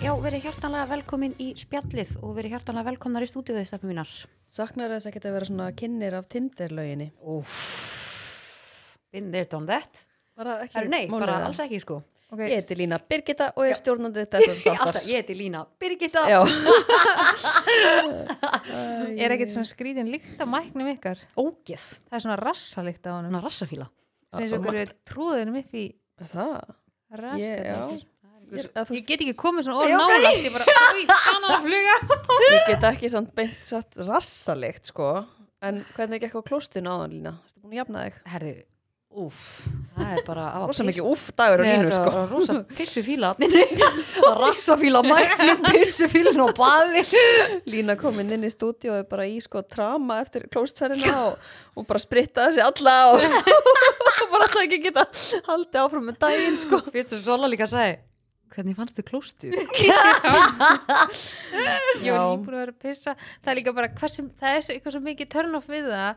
Já, verið hjartanlega velkomin í spjallið og verið hjartanlega velkomnar í stúdíuðið stefnum mínar. Saknar þess ekkert að vera svona kynir af Tinder-löginni? Úff, been there, done that. Var það Það eru nei, bara alls ekki sko. Ég Okay. heiti Lína Birgitta og ég er stjórnandi þessar þáttar. Alltaf, ég heiti Lína Birgitta. Já. Er Eh. ekkert svona skrítin líkt af mæknum ykkar? Ógeð, Það er svona rassalikt á honum. svona rassafíla. Sem eins og ykkur er trúðinum upp í Það? Ég, raskat. já. Ég, að þú Ég veist, get ekki komið svona Já, orð ok. nálægt. Ég bara, úi, kannan að fluga. ég get ekki samt beint satt rassalikt, sko. En hvernig gekk á klóstinu áðan, Lína? Ertu búin að jafna þig? Herðu, úff, það er bara... það var Rosa piss- mikið úff dagur á Nei, línu, þetta sko. var Rosa pissufíla, rassafíla, mæknum, pissufílin og baði. Lína kom inn inn í stúdíói bara í sko trama eftir klóstferðina og, og bara sprittaði sig alla og bara alltaf ekki geta haldið áfram með daginn, sko. Fyrstu Sola líka að segja, hvernig fannst þið klóstið? Ég var líka búin að vera að pissa. Það er líka bara, hversu, það er svo- eitthvað svo mikið turn off við það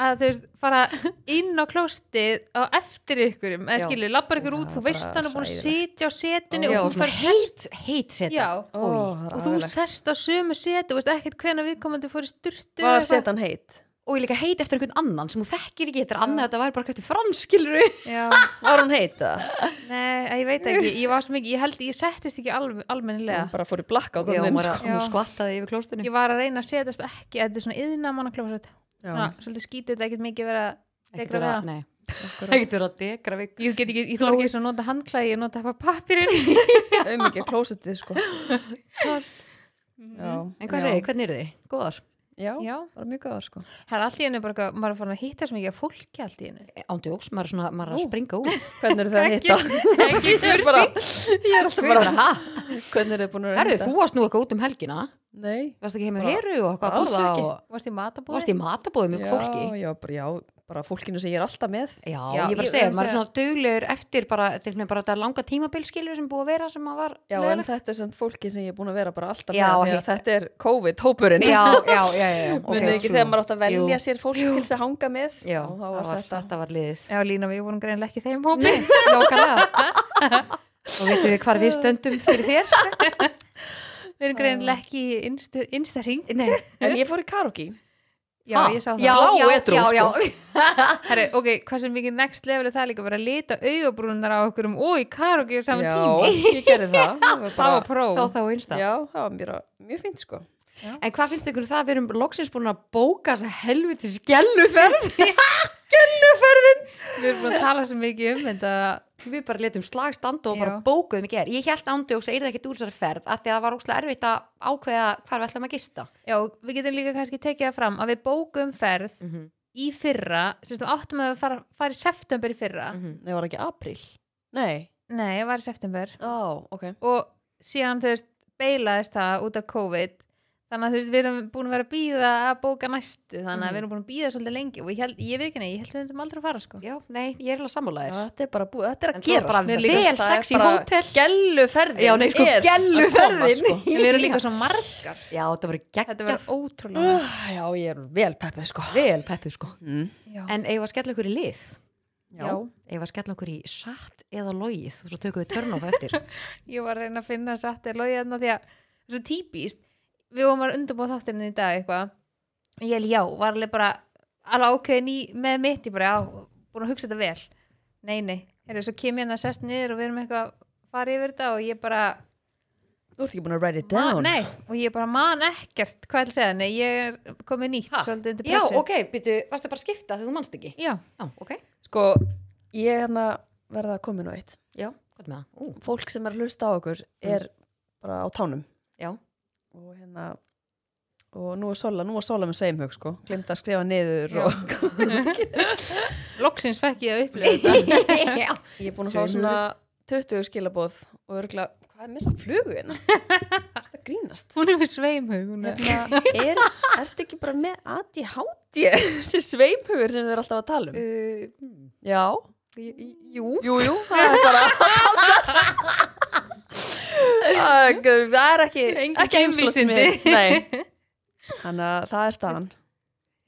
að þú veist, fara inn á klóstið á eftir ykkur, eða Já. skilju, labbar ykkur Það út, þú er veist bara hann er búin að hræðilegt. sitja á setinu Já, og þú svona fær heit, heit seta. Já, Ó, það er og þú agalegt. sest á sömu seti, þú veist ekkert hvena viðkomandi fór í styrtu Var setan heit? og ég líka heit eftir einhvern annan sem hún þekkir ekki, þetta er annað, þetta væri bara hvernig franskilru Já, Var hún heit það? nei, að ég veit ekki, ég var svo mikið, ég held, ég settist ekki alv almennilega Hún bara fór í blakka á Já, hún þannig var að- sko. hún Já. skvattaði yfir klóstunni Ég var að reyna að setjast ekki, þetta er svona yðna manna klóset Já. Svona, svolítið skítið, þetta er ekkert mikið verið að Ekkert degra vera- við nei. það Ekkert verið að degra við Ég get ekki, ég þóla ekki eins og nota handklæði, ég nota bara pappirinn Um ekki klósetið sko. Já. En hvað Já. segir, hvernig eru þið? Góðar? Já, Já, bara mjög góðar sko. það er allir henni bara, eitthvað- maður er farin að hitta svo mikið af fólki allt í henni Ándjóks, maður er svona, maður er að springa út Hvernig eru þið að hitta? Ekki fyrir bara. Ég er alltaf Hver er bara, það? Ha? hvernig eru þið búin að vera Herðu, þú varst nú eitthvað út um helgina Nei. Varst ekki heim með Bara- heru og eitthvað að alls borða ekki. og Varst í matabúði? varst í matabóðum mjög fólki Já, já, bara, já, bara fólkinu sem ég er alltaf með. Já, Já, ég bara ég- segja, ég- maður er svona duglegur eftir bara, þetta er svona bara þetta langa tímabilskilur sem búið að vera sem maður var Já, en leiðilegt. þetta er samt fólki sem ég er búin að vera bara alltaf Já, með. því hitt. að Þetta er COVID-hópurinn. Já, já, já, já, já ok, Munið ekki svona. þegar maður átt að velja Jú. sér fólk til þess að hanga með. Já, þá það var var- þetta. þetta var liðið Já, Lína, við vorum greinlega ekki í þeim hópi Nei, nákvæmlega Og veitum við hvar við stöndum fyrir þér? Við erum greinilega ekki í innstu- innsta hring. Nei En ég fór í karaoke. Já, sko. Ha? ég sá það. Já, Blá já, edrú, já, já. Herri, ok, hvað sem mikið next level er það líka bara að lita augabrúnar á okkur um og í karaoke á saman Já, tími. ég gerði það. Það var Það var bara, pró. Sá það á einsta já, það var mjög, mjög fint sko. En hvað finnst ykkur um það að við erum loksins búin að bóka þessa helviti skelluferð Við erum búin að tala svo mikið um þetta. Við bara letum slag standa og bara Já. bókuðum í ger Ég held ándjóks að yrði ekkert úr þessari ferð af því að það var ókslega erfitt að ákveða hvar við ætlum að gista Já, við getum líka kannski tekið það fram að við bókum ferð í fyrra, sem þú áttum að fara, fara í september í fyrra. Ah, Mm. Nei, var ekki apríl? Nei. Nei, ég var í september. Ó, ok. Og síðan, þú veist, beilaðist það út af COVID. Þannig að þú veist, við erum búin að vera að býða að bóka næstu. Þannig að Mhm. við erum búin að býða svolítið lengi og ég, held, ég veit ekki nei, ég held við þetta aldrei að fara, sko. Já, nei, ég er alveg Já, sammálaðir þetta er bara búið, þetta er En að svo gera bara vel sexy hótel. Gelluferðin Já, nei, sko, er að sko. gelluferðin. koma, En við erum líka svo margar. Já, þetta verður Þetta geggjað verður ótrúlega margar. sko. Já, ég er vel peppið sko vel peppu sko mm. Já. En eigum við að skella okkur í lið Já, Eigum við að skella okkur í satt eða logið og svo tökum við törn á eftir Ég var að reyna að finna satt er logið hérna því að það er svo típist. Við vorum að undurbúa þáttirinn í dag eitthvað. Ég held já, var alveg bara alveg ákveðin í með mitt ég bara já, búin að hugsa þetta vel. Nei, nei. Heru, svo kem ég hérna sest niður og við erum eitthvað að fara yfir þetta og ég bara þú ert ekki búin að write it man, down nei, og ég bara man ekkert hvað ég vil segja, nei, ég er komið nýtt Ha? svolítið undir Já, pressu. ok, býtu, varstu bara að skipta þegar þú manst ekki? Já, Já, ok, Sko, ég hérna verða að koma nú eitt já, gott með það. Ú, Fólk sem er að hlusta á okkur er bara á tánum já, og hérna og nú er Sola, nú var Sola með sveimhug sko glemt að skrifa niður Já. og loksins fekk ég að upplifa þetta. já. ég er búin að fá svona 20 skilabóð og örgulega, hvað er með þess að flugu hérna? Þetta grínast Hún er með sveimhug, hún er hérna, er, ertu ekki bara með ADHD þessi sveimhugur sem þau eru alltaf að tala um Uh, mm, já, j- j- jú, jú, jú, það er bara það er ekki Engin ekki heimskólasmit, geimvísindi. nei. þannig að það er staðan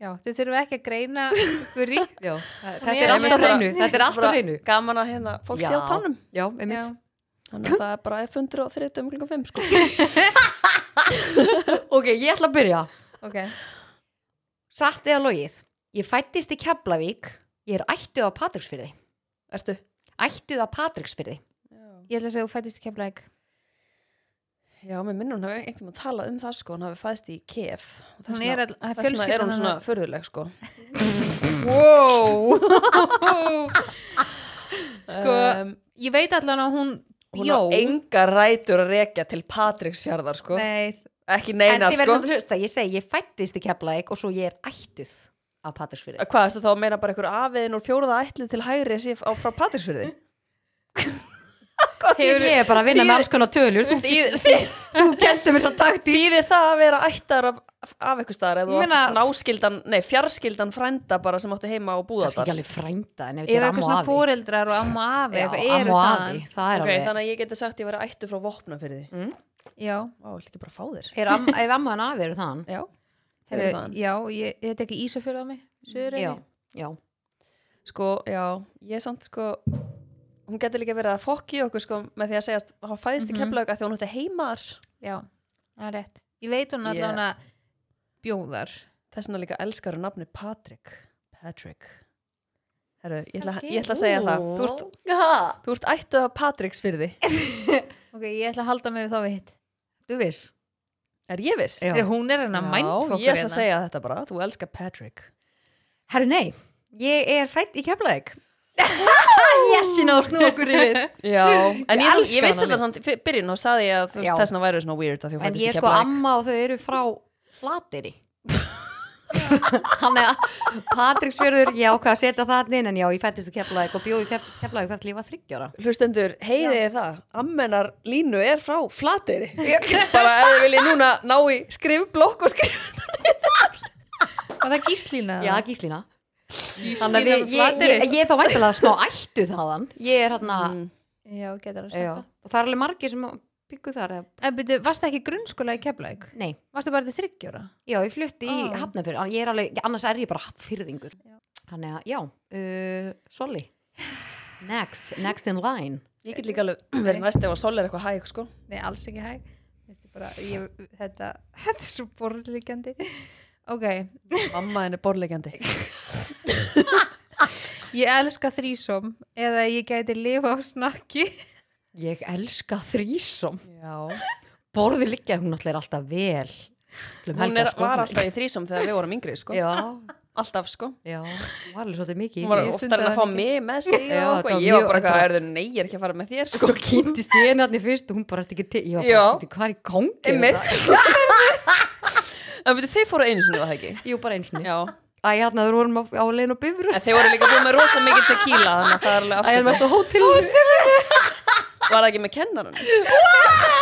Já, þið þurfum ekki að greina ykkur í já, það- þetta Ég er er alltaf bara- hreinu, þetta er alltaf Bara hreinu. gaman að hérna, fólk sé á Já. tánum Já, einmitt. Já. þannig að það er bara 130 um klukkan 5 sko. ok, ég ætla að byrja ok, satt eða logið, ég fættist í Keflavík ég er ættuð á Patricksfyrði Ertu? ættuð á Patricksfyrði Já. ég ætla að segja þú fættist í kemlaðik Já, mér minnum hún hafi einhvern veginn talað um það sko, hún hafi fæðst í KF og Hún þess er vegna- all- þess vegna er hún fjölskyldan svona hennar- förðuleg sko. wow sko, um, ég veit allan að hún hún bjó á enga rætur að rekja til Patricksfjörðar sko, nei, ekki en neinar þið verður sko. samt að hlusta, ég segi ég fættist í Keflavík og svo ég er ættuð á Patricksfyrði Eh, Hvað, ertu þá að meina bara einhver afiðin úr fjóruða ætlið til hægri sé á, frá Patricksfjörði? Hefur ég er bara að vinna með þýðir- alls konar tölur þú, þú kendur mér svo takt í Þýðir það að vera ættar af, af eitthvað staðar eða þú Ég átt meina- náskildan, nei, fjarskildan frænda bara sem áttu heima á kannski búðardal ekki alveg frænda en ef ef þetta er eitthvað amma svona og afi fóreldrar og amma og afi Já, eitthvað amma og eru það afi, það er Ok, alveg þannig að ég geti sagt ég væri ættu frá vopna fyrir því. já, Vá, ég vil ekki bara fá þér. Er am- ef amma en afi eru þann Já, þeir eru Heru, þaðan. já, ég, ég tek í Ísafjörð á mig Suðureyri. já, já, sko, já, ég samt sko hún getur líka verið að fokki okkur sko með því að segja að hún fæðist í Mhm. Keflavík að því að hún ætti heimar já, það er rétt ég veit hún Ég- allan að bjóðar þess vegna líka elskar hún nafni Patrick Patrick Herru, ég, ætla, Kannski. ég ætla að segja það þú ert, Ha, þú ert ættuð af Patricks fyrir því ok, ég ætla að halda mig við þá við hitt Þú viss er ég viss? Já. Heru, hún er Já, hennar hérna. mæntfokkur ég ætla að segja þetta bara, þú elskar Patrick Herru nei, ég er fætt í Keflavík Yes, ég náðu snú okkur í við Já, en Ég ég, ég, elska ég vissi hana þetta samt, fyr- byrjun og saði ég að þú Já. veist þessna væri svona weird að því hún En fættist ég í er sko Keflavík amma og þau eru frá Flateri Þannig að Patricksfjörður, ég ákvað að setja það þarna inn en já, ég fættist í Keflavík og bjóði í Kef- Keflavík þar til ég var þryggjóra Hlustendur, heyriði það, ammenar línu er frá flateri bara ef þið viljið núna ná í skrifblokk og skrif var það gíslína? Já, Gíslína Þannig að við, með ég, Flateyri. ég, ég er þá væntalega smá ættu þaðan Ég er hérna já, getur að já, segja og það er alveg margir sem byggu þar eða- það en byrju, varst það ekki grunnskóla í Keflavík? Nei, varstu bara til þryggjóra? já, ég flutti í Ah. Hafnafjörð en ég er alveg, annars er ég bara hafnfyrðingur Þannig að, já, uh, Solly Next, next in line Ég get líka alveg verið næst ef að sol er eitthvað hæg sko. nei, alls ekki hæg þetta, er bara, ég, þetta, þetta er svo borðlíkjandi ok, Mamma henni er borlegjandi ég elska þrísom eða ég gæti lifa á snakki Ég elska þrísom Já. borði liggja, hún náttúrulega er alltaf vel Glum Hún er, var alltaf í þrísom þegar við vorum yngri sko. sko. já, Alltaf sko já, hún var alveg svolítið mikið í Hún var því. Ég oftar stundaði en að fá mikið. mig með Já, sig og þetta eitthvað var Ég var mjög- bara þetta eitthvað, var- erðu nei, ég er ekki að fara með þér sko. svo kynntist ég henni hann í fyrst og hún bara ætti ekki til, ég var Já. bara, "Bíddu, hvað er í gangi með Einmitt þetta?" En veitu, þið fóru einu sinni var það ekki jú, bara eins og Já. Æ, hérna, þú vorum á, á leiðin og bifröst En þeir voru líka búin með rosa mikið tequila Þannig að það er Æ, hérna, alveg varstu á hótelur afsökun Var það ekki með kennaran?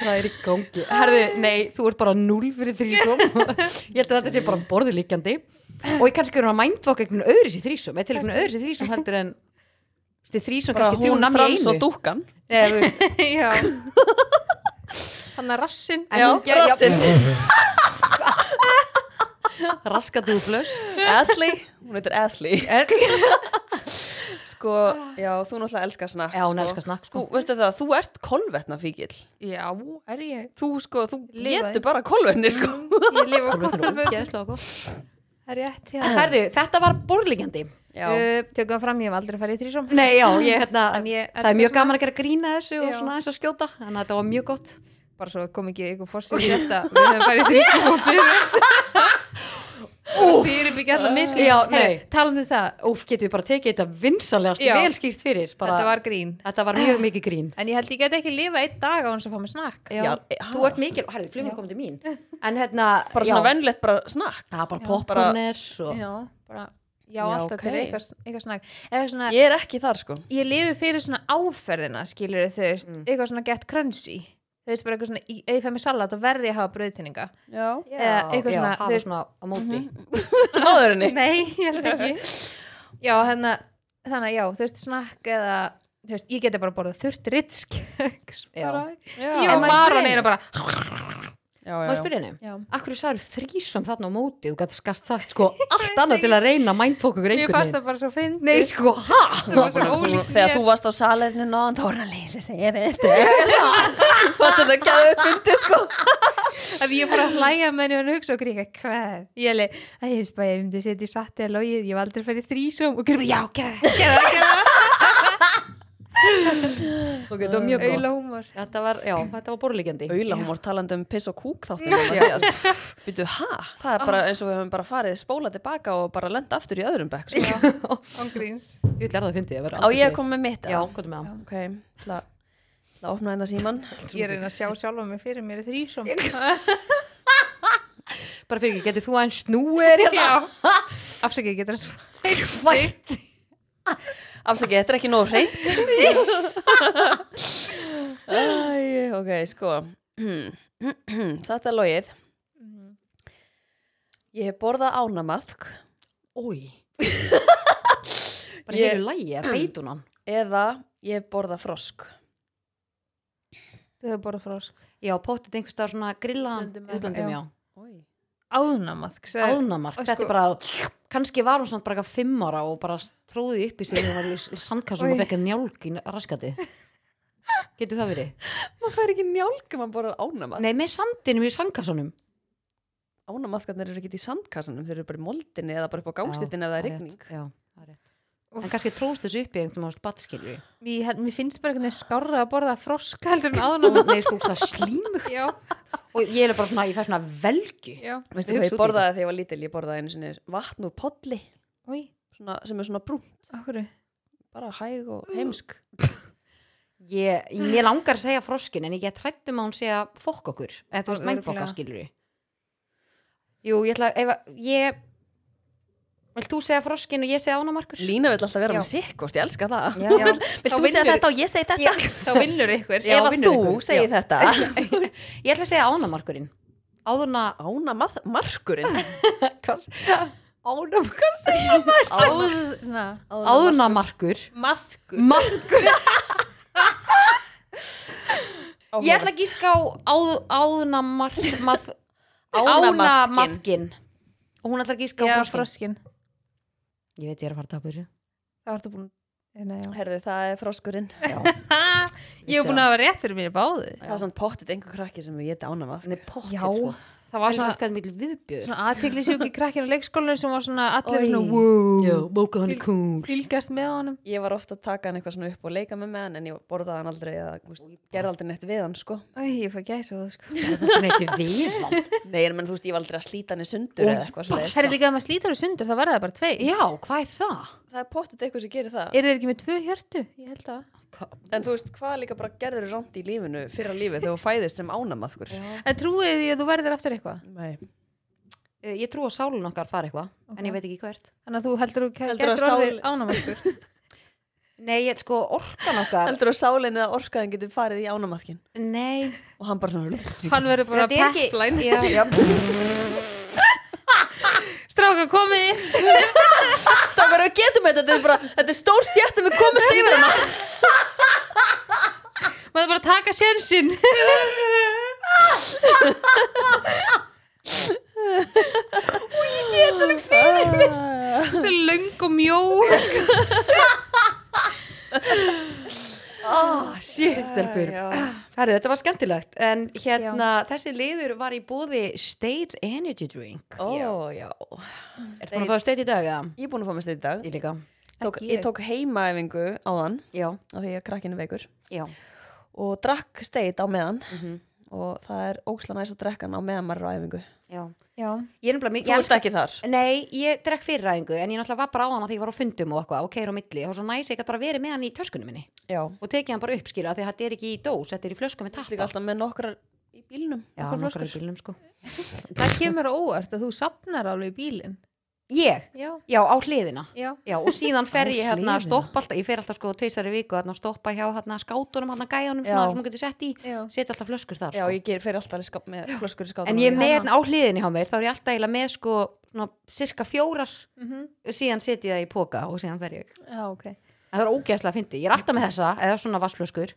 Hvað er í gangi? Herðu, nei, þú ert bara null fyrir þrísom Ég held að þetta sé bara borði líkjandi Og ég kannski er hún að mindvaka einhvern öðru sér þrísom Eða til einhvern öðru sér þrísom heldur en Þrísom Bara kannski þrjú hún, nammi í Frans einu og dúkkan Nei, þú veist, já hann er rassin En Já, hún gerði- rassinn. Raskatúr flöss Ashley, hún heitir Ashley Já, Sko, já, þú náttúrulega elskar snakk hún sko. elskar snakk Þú, sko. veistu það, þú ert kolvetna fíkil já, er ég Þú sko, þú Lifa Mm. getur því. bara kolvetni sko ég lifa á kolvetnum Ógeðslega gott. það er rétt, já Herðu, þetta var borðlíkjandi Já. uh, tökum það fram, ég hef aldrei farið í þrísom Nei, já, ég, hérna, En ég- það er mjög gaman að gera grína þessu og Já. svona eins og skjóta, þannig að þetta var mjög gott bara svo kom ekki eitthvað fórsið í þetta við höfum farið þrísum og fyrir fyrirbyggja allar misli Já, nei. talandi um það, Úf, getum við bara tekið þetta vinsalegast Já. vel skýrt fyrir bara, þetta var grín þetta var mjög mikið grín en ég held ég get ekki lifa einn dag á hans að fá mér snakk Já, Já, e- þú ha. ert mikil, herðu, flugur komið til mín En hérna, Bara já, svona vennlegt bara snakk það er bara Já, popcorners og já, bara, já, Já, alltaf ok. til eitthvað, eitthvað snakk eða svona, ég, Ég er ekki þar sko lifi fyrir svona áferðina skilur þau, veist, Mm. eitthvað svona get crunchy þau veist bara eitthvað svona, í- ef ég fæ mér salat þá verði ég að hafa brauðtinninga Já Já, Eða Eh, eitthvað já, svona, þú hafa veist- Mhm. svona á móti Náður henni Nei, ég held ekki Já, hérna, þannig að já, þú veist snakk eða, þú veist, ég geti bara borðað þurrt rittskeks Já. bara, Já. ég En var maður bara spyr neina bara já, Má já, ég spyrja henni? Já. Akkur sagður þrísum þarna á móti Þú gætti skast sagt sko allt annað til að reyna mindfóku ykkur Mér fannst einhvern það bara svo fyndið. Nei sko, ha? það var svo já. ólíkt Þegar mér. þú varst á salernu náðan, þá var hann leiðið sem ég veit. Varst þetta að geða upp fyndi, sko? að ég fór að hlæja með henni og hann hugsa og gríka hvað, ég leið, að ég veist bara ég myndi setja í satt eða logið, ég var aldrei fyrir þrísum og gerði bara já, gerði það, gerði það, gerði það Ok, þetta var mjög gott auðla húmor Þetta var, já, þetta var borulíkjandi Auðla, hún var talandi um piss og kúk þáttum við að síðast. Býtu, hæ? Það er bara Ah. eins og við höfum bara farið spóla tilbaka og bara lenda aftur í öðrum bekk, sko. ángríns, Þú ætlar að fyndi að vera Á ég aldrei að koma með mitt? þreytt. Já, hvað með það? Ok, ætla ætla að opna hérna síman. ég er að reyna að sjá sjálfa mig fyrir mér í þrísum Bara fyrir ekki, getur þú aðeins snúir hérna? já, afsakið getur það Fætt Afsakið, þetta er ekki nóg reynd. Æ, ok, sko. Þetta er logið. Ég hef borðað ánamaðk Ói Bara Ég- hefur lægi að beitunan eða ég hef borðað frosk. þau hefur borðað frosk Já, pottið einhvers staðar svona grillaðan Útlöndum eða- útlöndum, já. já, Ói. áðnamaðk sagði- áðnamark, Og þetta sko- er bara kannski var hún samt bara eitthvað fimm ára og bara tróði upp í sig og var í s- sandkassum og Oj. fekk að njálg í raskati getur það verið? Maður fær ekki njálg ef maður borðar ánamaðk. Nei, með sandinum í sandkassunum Ánamaðkarnir eru ekki í sandkassanum, þeir eru bara í moldinni eða bara upp á gangstittinni eða regning. Já, það er rétt. En kannski tróðst þessu upp í einhvern veginn batskilur Mér held- mér finnst bara einhvern veginn skárra að borða frosk heldur en áðnamaðk Nei, sko, það slímugt já, og ég er bara svona, ég fær svona velgi já, Veistu Ég hugsa hvað ég út í borðaði þegar ég var lítil? Ég borðaði einu sinni vatn úr podli úi, svona, sem er svona brún, okkur bara hæg og heimsk. Ég, ég langar að segja froskin en ég get hrættum að hún segja fokk okkur eða þú veist Örugglega. mænfokka skilur við Jú, ég ætla ef, að- ég Vilt þú segja froskin og ég segja ánamarkur? Lína vill alltaf vera Já. með sikkort, ég elska það. Já. Já. Vilt Þá þú segja vinnur- þetta og ég segi þetta? Já. þá vinnur ykkur Já, Ef að vinnur þú ykkur. segir þetta Ég ætla að segja ánamarkurinn Áðurna Ána mað- markurinn Ánamarkur áðna Áðurnamarkur maðkur Markur Áhugavert. Ég ætla að gíska á áðurnamark Ánamarkin. Ánamarkin Og hún ætla að gíska já, á froskin froskin Ég veit ég er að fara að tapa þessu það vartu búin Eh, Nei, já. Herðu, það er froskurinn Já, Ha, ég hef búin að hafa rétt fyrir mér í báðu Það er svona pottit einhver krakki sem við geta ána maður Nei, pottit, Já, sko. það Það var er svona svona, eitthvað mikil viðbjöður svona aðtiklisjúki krakkin á leikskólinu sem var svona allir Oj. svona wow, Já, bóka hann er cool fylgast með honum Ég var ofta að taka hann eitthvað svona upp og leika með með hann en ég borðaði hann aldrei eða þú veist, gerði aldrei neitt við hann sko Æ, ég fæ gæsa það sko Hún heiti Viðan Nei, en menn, þú veist, ég var aldrei að slíta hann í sundur eða eitthvað svoleiðis. Það er líka að maður slítar við sundur, það verða bara tvei Já, hvað er það? Það er pottit einhver sem gerir það Eru þeir ekki með tvö hjörtu? Ég held það En þú veist, hvað líka bara gerður rámt í lífinu fyrra lífi þegar þú fæðist sem ána maður En trúið því að þú verður aftur eitthvað Nei, Eh, Ég trú að sálun okkar fara eitthvað En ég veit ekki hvert Þannig að þú heldur þú Heldur getur að sál- orðið ánamaskur Nei, ég sko orkan okkar heldur þú að sálinn eða orkaðan getur farið í ánamaðkin Nei, og hann bara svona Hann verður bara þetta er ekki pepplæn já, já. Stráka komið Strákar, við getum þetta, þetta er bara, þetta er stór stjættum við komumst yfir hana. Maður bara taka sjensin Þetta er löng og mjó Oh, Shit, stelpur Herðu, þetta var skemmtilegt En hérna, þessi liður var í bóði State Energy Drink Ó, já. Ertu búin að fá að state í dag, eða? Ég er búin að fá mér stið í dag. Ég líka Tók, Ekki ég. ég tók heimaæfingu á þann, Já, af því að krakkinu veikur, já og drakk steit á meðan. Mhm. Og það er óksla næs að drekka hann á meðan maður er á æfingu. Já. Já, Ég er nefnilega mikið Þú ert ekki þar. Nei, ég drekk fyrræðingu en ég náttúrulega var bara á hana þegar ég var á fundum og eitthvað og keir á milli og svo næs ég gæti bara verið með hann í töskunum minni Já. og tekið hann bara upp skilja því að þetta er ekki í dós, þetta er í flösku með Líka tappa alltaf með nokkrar í bílnum. Já, nokkrar nokkar í flöskur. bílnum sko það kemur á óvart að þú safnar alveg í bílinn Ég, Já, já, á hliðina já Já, og síðan fer Á ég hérna að hliðina. stoppa alltaf ég fer alltaf sko tveisari viku hérna að stoppa hjá hérna skátunum hérna gæjanum Já. svona sem hún getur sett í Já. setja alltaf flöskur þar Já, sko ég ger, fer alltaf í skáp- með flöskur í skátunum. En ég er líka. með hérna á hliðinni hjá mér þá er ég alltaf eiginlega með sko svona, cirka fjórar Mhm. síðan setja ég það í póka og síðan fer ég Já, ok. En það er ógeðslega fyndi, ég er alltaf með þessa eða svona vassflöskur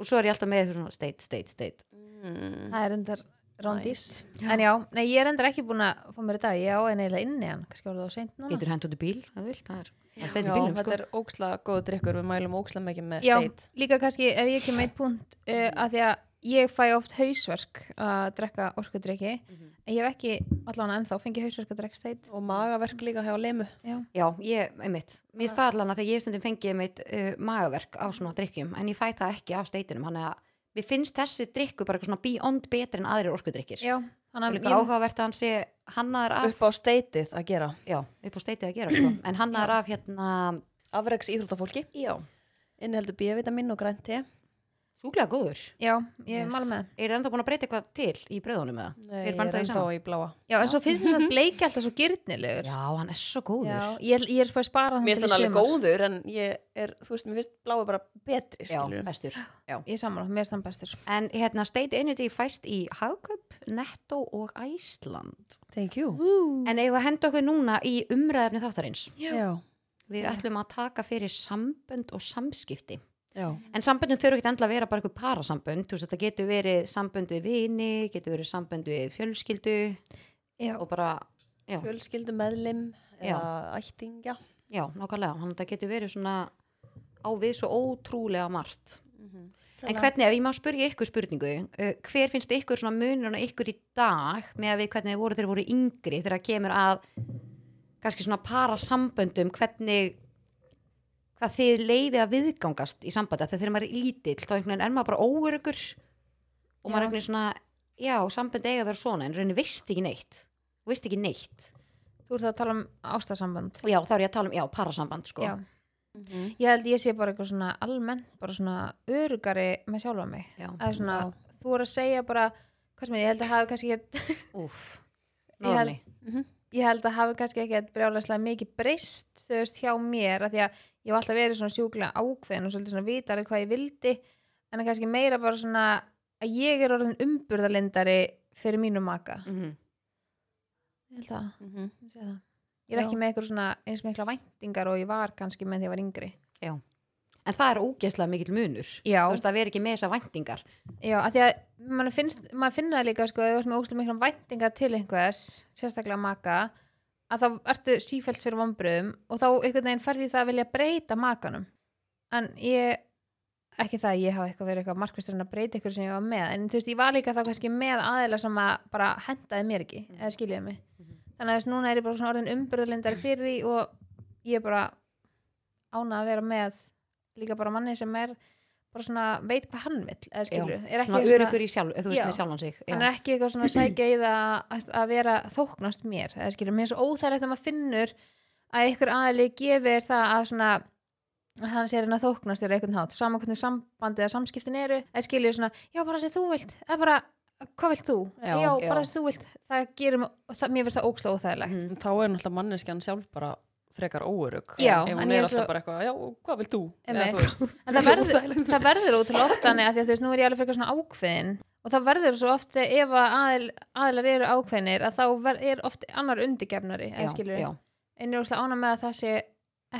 og svo er ég alltaf með svona steit, steit, steit Mm. Það er endar rándís en já, nei, ég er endur ekki búin að fá mér í dag, ég á einn eiginlega inni hann kannski var það á seint núna Getur hendt út í bíl, það vil, það er Það er Ah. Já, steinn í bílum, þetta sko er óksla góð drikkur, við mælum óksla mikið með já, steit. líka kannski ef ég kem með eitt punkt uh, að því að ég fæ oft hausverk að drekka orkudrykki en ég hef ekki allan ennþá fengið hausverk að drekka steit Og magaverk líka hjá lemu. já, Já, ég, einmitt Mér finnst það allan að þegar ég stundum fengið einmitt uh, magaverk á svona drikkjum En ég fæ það ekki af steitinum Þannig að mér finnst þessi drikku bara eitthvað svona beyond betri en aðrir orkudrykkir já, hann Og líka áhugavert að hann sé hannaðar af Upp á steitið að gera. Já, upp á steitið að gera, sko En hannaðar af hérna Afreks íþróttafólki, Já, inniheldur B-vitamin og grænt te. súklega góður já, ég Yes. yes. mál með það. Er það ennþá búin að breyta eitthvað til í bröðunum eða? Nei, Eru ég bara er ennþá í ennþá sama? í bláa. já, en svo finnst mér að bleiki alltaf svo gyrnilegur Já, hann er svo góður Já, ég, er- ég er sko að spara hann Mér finnst til í hann alveg sumar. góður, en ég er, þú veist, mér finnst bláa bara betri, Já, skilur. bestur Já. ég saman, mér finnst hann bestur sko. En hérna State Energy fæst í Hagköp, Netto og Æsland. Thank you. En eigum við að henda okkur núna í umræðefni þáttarins. Já, Við ætlum að taka fyrir sambönd og samskipti. já. En samböndin þurfa ekki endla að vera bara eitthvað parasambönd. Þú veist, þetta getur verið sambönd við vini, getur verið sambönd við fjölskyldu Já. og bara, já, Fjölskyldu meðlim Já. eða ættingja. já, nákvæmlega. Þannig að þetta getur verið svona á við svo ótrúlega margt. Mhm. En hvernig, ef ég má spyrja ykkur spurningu, uh, hver finnst ykkur svona munurinn á ykkur í dag með að við hvernig þið voru þeir voru yngri þegar það kemur að kannski svona parasamböndum, hvernig hvað þið leifið að viðgangast í sambandi, af því að þegar maður er lítill þá einhvern veginn er maður bara óöryggur og maður Já. er einhvern veginn svona, já, sambönd eiga að vera svona, en raunin veist ekki neitt Þú veist ekki neitt, þú ert að tala um ástasamband og já, þá er ég að tala um, já, parasamband sko, já. Mhm. ég held ég sé bara eitthvað svona almenn bara svona örugari með sjálfa mig já. að svona, þú voru að segja bara hvað sem er, ég held að hafi kannski ekki úff Ég held- Norðurni. Mhm. ég held að hafi kannski ekkert brjálæslega mikið breyst þú veist hjá mér að því að ég hef alltaf verið svona sjúklega ákveðin og svolítið svona vitari hvað ég vildi en að kannski meira bara svona að ég er orðin umburðalindari fyrir mínum maka Mhm. ég held að, Mhm. ég sé það ég er Já. ekki með eitthvað svona eins mikla væntingar og ég var kannski með því ég var yngri En það er ógeðslega mikil munur já, Þú veist að vera ekki með þessar væntingar já, að því að mann finnst, maður finna það líka sko, að þú ert með óslega mikla væntingar til einhvers sérstaklega maka að þá ertu sífælt fyrir vombriðum og þá einhvern veginn ferði það að vilja breyta makanum en ég ekki það að ég hafa eitthvað verið eitthvað markvistur en að breyta ykkur sem ég var með, en þú veist, ég var líka þá kannski með aðeila sem að bara hendaði mér ekki Mhm. eða skiljaði mig, þannig að þess núna er ég bara svona orðin umburðalindar fyrir því og ég er bara ána að vera með líka bara manni sem er bara svona, veit hvað hann vill eða skilur, er svona ekki örugur í sjálf, þú veist Já. með sjálfan sig já. hann er ekki eitthvað svona að sækja í það að- að vera þóknast mér eða skilur, mér er svo óþægilegt að maður finnur að einhver aðli gefur það að svona að hann sé að reyna að þóknast þér á einhvern hátt, saman hvernig sambandi eða samskiptin eru, eða skilur svona já, bara sem þú vilt, eða bara hvað vilt þú, Já, já, bara já. sem þú vilt það gerir, mig- það, mér finnst það óksla óþægilegt Mhm. Þá er náttúrulega manneskjan sjálf bara frekar óörug. Já, Ef en hún ég er er alltaf svo- bara eitthvað, já, hvað vilt þú? Einmitt. þú veist. en það verður, það verður ótrúlega oft þannig að því að þú veist, nú er ég alveg frekar svona ákveðin og það verður svo oft þegar ef að aðil, aðilar eru ákveðinir að þá ver, er oft annar undirgefnari eða skilur, já, en ég er óslega ána með að það sé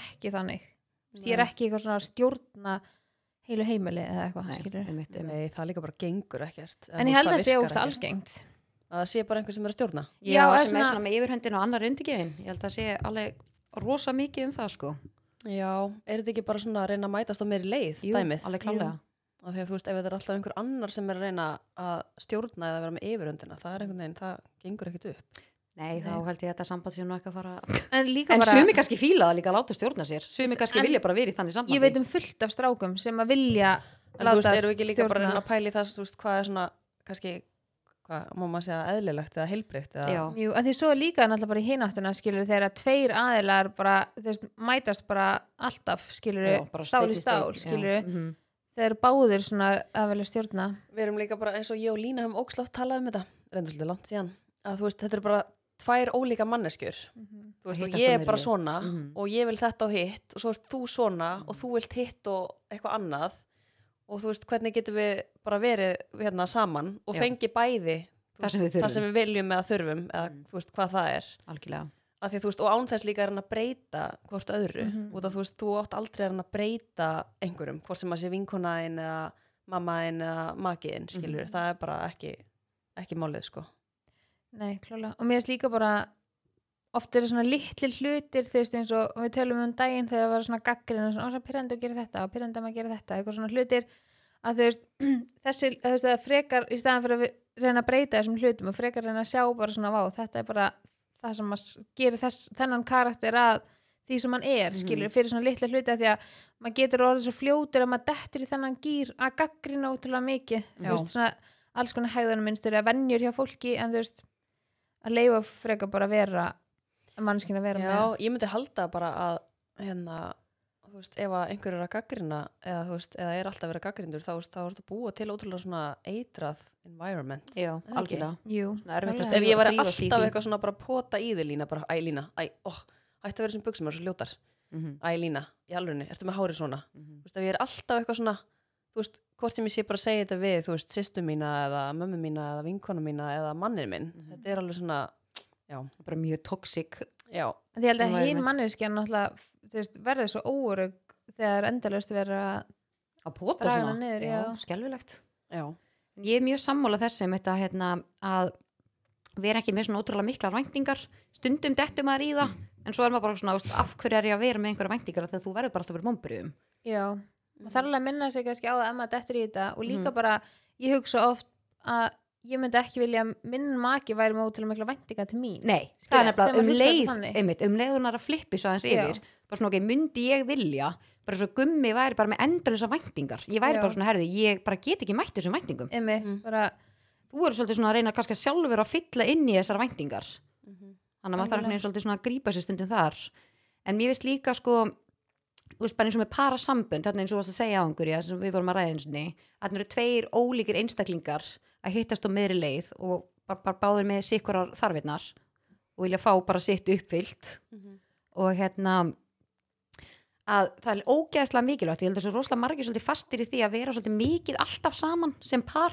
ekki þannig Þú veist, ég er Nei. ekki eitthvað svona að stjórna heilu heimili eða eitthvað nei, skilur einmitt, einmitt. Nei, það líka bara gengur ekkert. Eða en þú ég held veist, að það sé virkar óslega ekkert. algengt Að það sé bara einhver sem er að stjórna. já, Já, sem er svona- svona með yfirhöndin og annar undirgefin ég held að sé alveg rosa mikið um það sko Já, er þetta ekki bara svona að reyna að mætast á meiri leið, Jú, dæmið? alveg klálega Af því að þú veist, ef þetta er alltaf einhver annar sem er að reyna að stjórna eða vera með yfiröndina, það er einhvern veginn, það gengur ekkert upp. Nei, þá held ég að þetta samband sé nú ekki að fara en líka En bara, sumi kannski fíla það líka að láta stjórna sér Sumi kannski En- vilja bara verið þannig sambandi ég veit um fullt af strákum sem að vilja En þú láta veist, erum við ekki líka bara að reyna stjórna að pæli það, þú veist, hvað er svona, kannski, hvað má maður segja, eðlilegt eða heilbreytt eða... Já, Jú, að því svo er líka náttúrulega bara í hináttuna skilur þegar að tveir aðilar bara, þú veist, mætast bara alltaf skilur, já, bara stál steik í í stál steik, já, skilur, mhm. þeir eru báðir svona að velja stjórna Við erum líka bara, eins og ég og Lína hefum ókslátt talað um þetta, reyndur svolítið langt síðan, að þú veist, þetta er bara tvær ólíka manneskjur. Þú veist, og Hittast á ég er meiri bara leið. svona Mhm. og ég vil þetta og hitt og svo ert þú svona og þú vilt hitt og eitthvað annað og þú veist, hvernig getum við bara verið hérna saman og Já. fengi bæði þú Það sem við veist, það sem þurfum. Mm. við viljum eða þurfum eða þú veist, hvað það er Algjörlega að því, að þú veist, og án þess líka er hann að breyta hvort öðru Mhm. út af þú veist, þú átt aldrei að hann að breyta einhverjum, Mhm. hvort sem að sé vinkonaðin eða mammaðin eða makiðin skilur, það er bara ekki ekki málið sko Nei, klálega. Og mér finnst líka bara oft eru svona litli hlutir þú veist eins og og við tölum um daginn þegar það var svona gaggrinn og svona, "Ó, svo pyrrandi að gera þetta og pyrrandi að maður gera þetta, eitthvað svona hlutir að þú veist, þessi, að þú veist, að frekar í staðan fyrir að við reyna að breyta þessum hlutum og frekar reyna að sjá bara svona vá, þetta er bara það sem maður s- gerir þess, þennan karakter að því sem hann er, skilur, fyrir svona litla hluti af því að maður getur orðið svo fljótur að maður dettur í þennan gýr að gaggrina ótrúlega mikið, þú Já. veist, svona alls konar hegðanum minnstur eða venjur hjá fólki en þú veist, að leifa frekar bara að vera að mannskina vera Já, með ég myndi halda bara að hérna, þú veist, ef að einhver er að gaggrina eða þú veist, eða er alltaf að vera gaggrindur þá, þú veist, þá er þetta búa til ótrúlega svona eitrað environment já, ekki. algjörlega Jú, Svona erfitt að alveg. Það Ef er ég að væri drífa sig í alltaf því. eitthvað svona bara að pota í þig lína, bara æ lína, æ, óh, ætti að vera sem buksum, það er svo ljótar, Mhm, æ lína, í alvegni, ertu með hárið svona? mhm. þú veist, ef ég er alltaf eitthvað svona þú veist, hvort sem ég sé bara að segja þetta við þú veist, sýstu mína eða mömmu mína eða vinkona mína eða mannir minn Mhm. þetta er alveg svona, já, Það er bara mjög toxic já En Því ég held að Environment. hinn manneskjan náttúrulega þú veist, verður svo óörug þegar endalaust vera að pota Draga svona hana niður, já. skelfilegt já, ég er mjög sammála þessi með þetta hérna, að vera ekki með svona ótrúlega miklar væntingar stundum dettum maður í það en svo er maður bara svona, veist, af hverju er ég að vera með einhverja væntingar þegar þú verður bara alltaf verið mombriðum já, og þarf alveg að minna sig kannski á það að maður dettur í þetta og líka Mhm. bara, ég hugsa oft að ég myndi ekki vilja að minn maki væri með ótrúlega mikla væntinga til mín nei, það er Skilja, nefnilega um þegar maður hugsar þetta leið þannig. einmitt, um leiðunar að flippi svo aðeins Já. yfir bara svona, ok, myndi ég vilja bara svo gummi væri bara með endurlösa væntingar ég væri Já. bara svona, herði, ég bara get ekki mætt þessum væntingum einmitt, Mm. bara, þú eru svolítið svona að reyna kannski sjálfur að fylla inn í þessar væntingar Mhm. þannig að maður þarf einhvern veginn svolítið svona að grípa sér stundum þar en mér veist líka sko þú veist bara eins og með parasambönd þarna eins og þú varst að segja á einhverja sem við vorum að ræða einsinni þarna eru tveir ólíkir einstaklingar að hittast á meðri leið og bara, bara báðir með sikkurar þarfinnar og vilja fá bara sitt uppfyllt mhm. og hérna að það er ógeðslega mikilvægt ég held að svo rosalega margir svolítið fastir í því að vera svolítið mikið alltaf saman sem par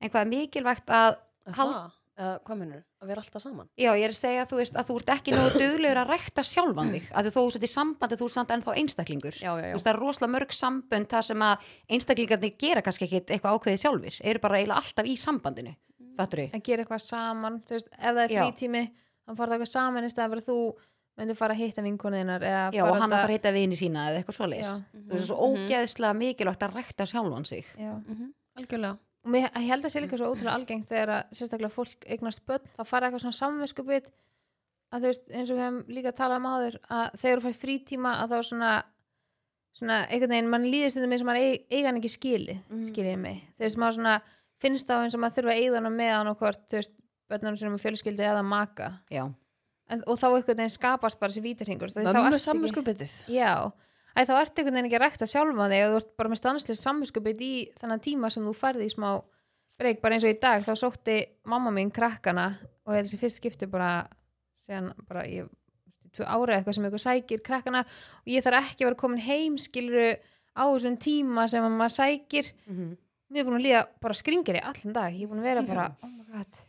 en hvað er mikilvægt að En Hal- það, eða hvað minnur, að vera alltaf saman Já, ég er að segja þú veist að þú ert ekki nógu duglegur að rækta sjálfan þig að þú þú sett í sambandi þú ert samt ennþá einstaklingur já, já, Þú já, veist, það er rosalega mörg sambönd þar sem að einstaklingarnir gera kannski ekki eitthvað ákveðið sjálfir eru bara eiginlega alltaf í sambandinu Fattur ég? að gera eitthvað saman þú veist, ef það er Já. frítími hann farið eitthvað saman í staðan fyrir að þú myndir fara að hitta vinkonuðinar Já, og hann að fara að hitta vini sína eða eitthvað svoleiðis Já. Þú veist, það er Mhm. svo Mm-hmm. ógeðslega mikilvægt að rækta sjálfan sig já. algjörlega og mér, ég held að sé líka svo ótrúlega algengt þegar að sérstaklega fólk eignast börn þá fara eitthvað svona samvinskupið að þú veist, eins og við hefum líka talað um áður að þegar þú fær frítíma að þá svona svona einhvern veginn, mann líðist þetta með sem maður eig- eiga hann ekki skili mm. skilið mig, þú veist, maður svona finnst þá eins og maður þurfa að eiga hann og með hann og hvort, þú veist, börnunum sinum og fjölskyldi eða maka, Já, en, og þá einhvern veginn skapast bara þessi vítirhingur mömmu samvinskupitið Já, að þá ertu einhvern veginn ekki að rækta sjálfa þig og þú ert bara með stanslið samvinskupið í þannig tíma sem þú færði í smá breyk, bara eins og í dag, þá sótti mamma mín krakkana og þessi fyrst skipti bara, segjan, bara ég, tvö ára eitthvað sem eitthvað sækir krakkana og ég þarf ekki að vera komin heim skiluru á þessum tíma sem að maður sækir Mhm. mér er búin að líða bara skringir í allan dag ég er búin að vera bara, oh my god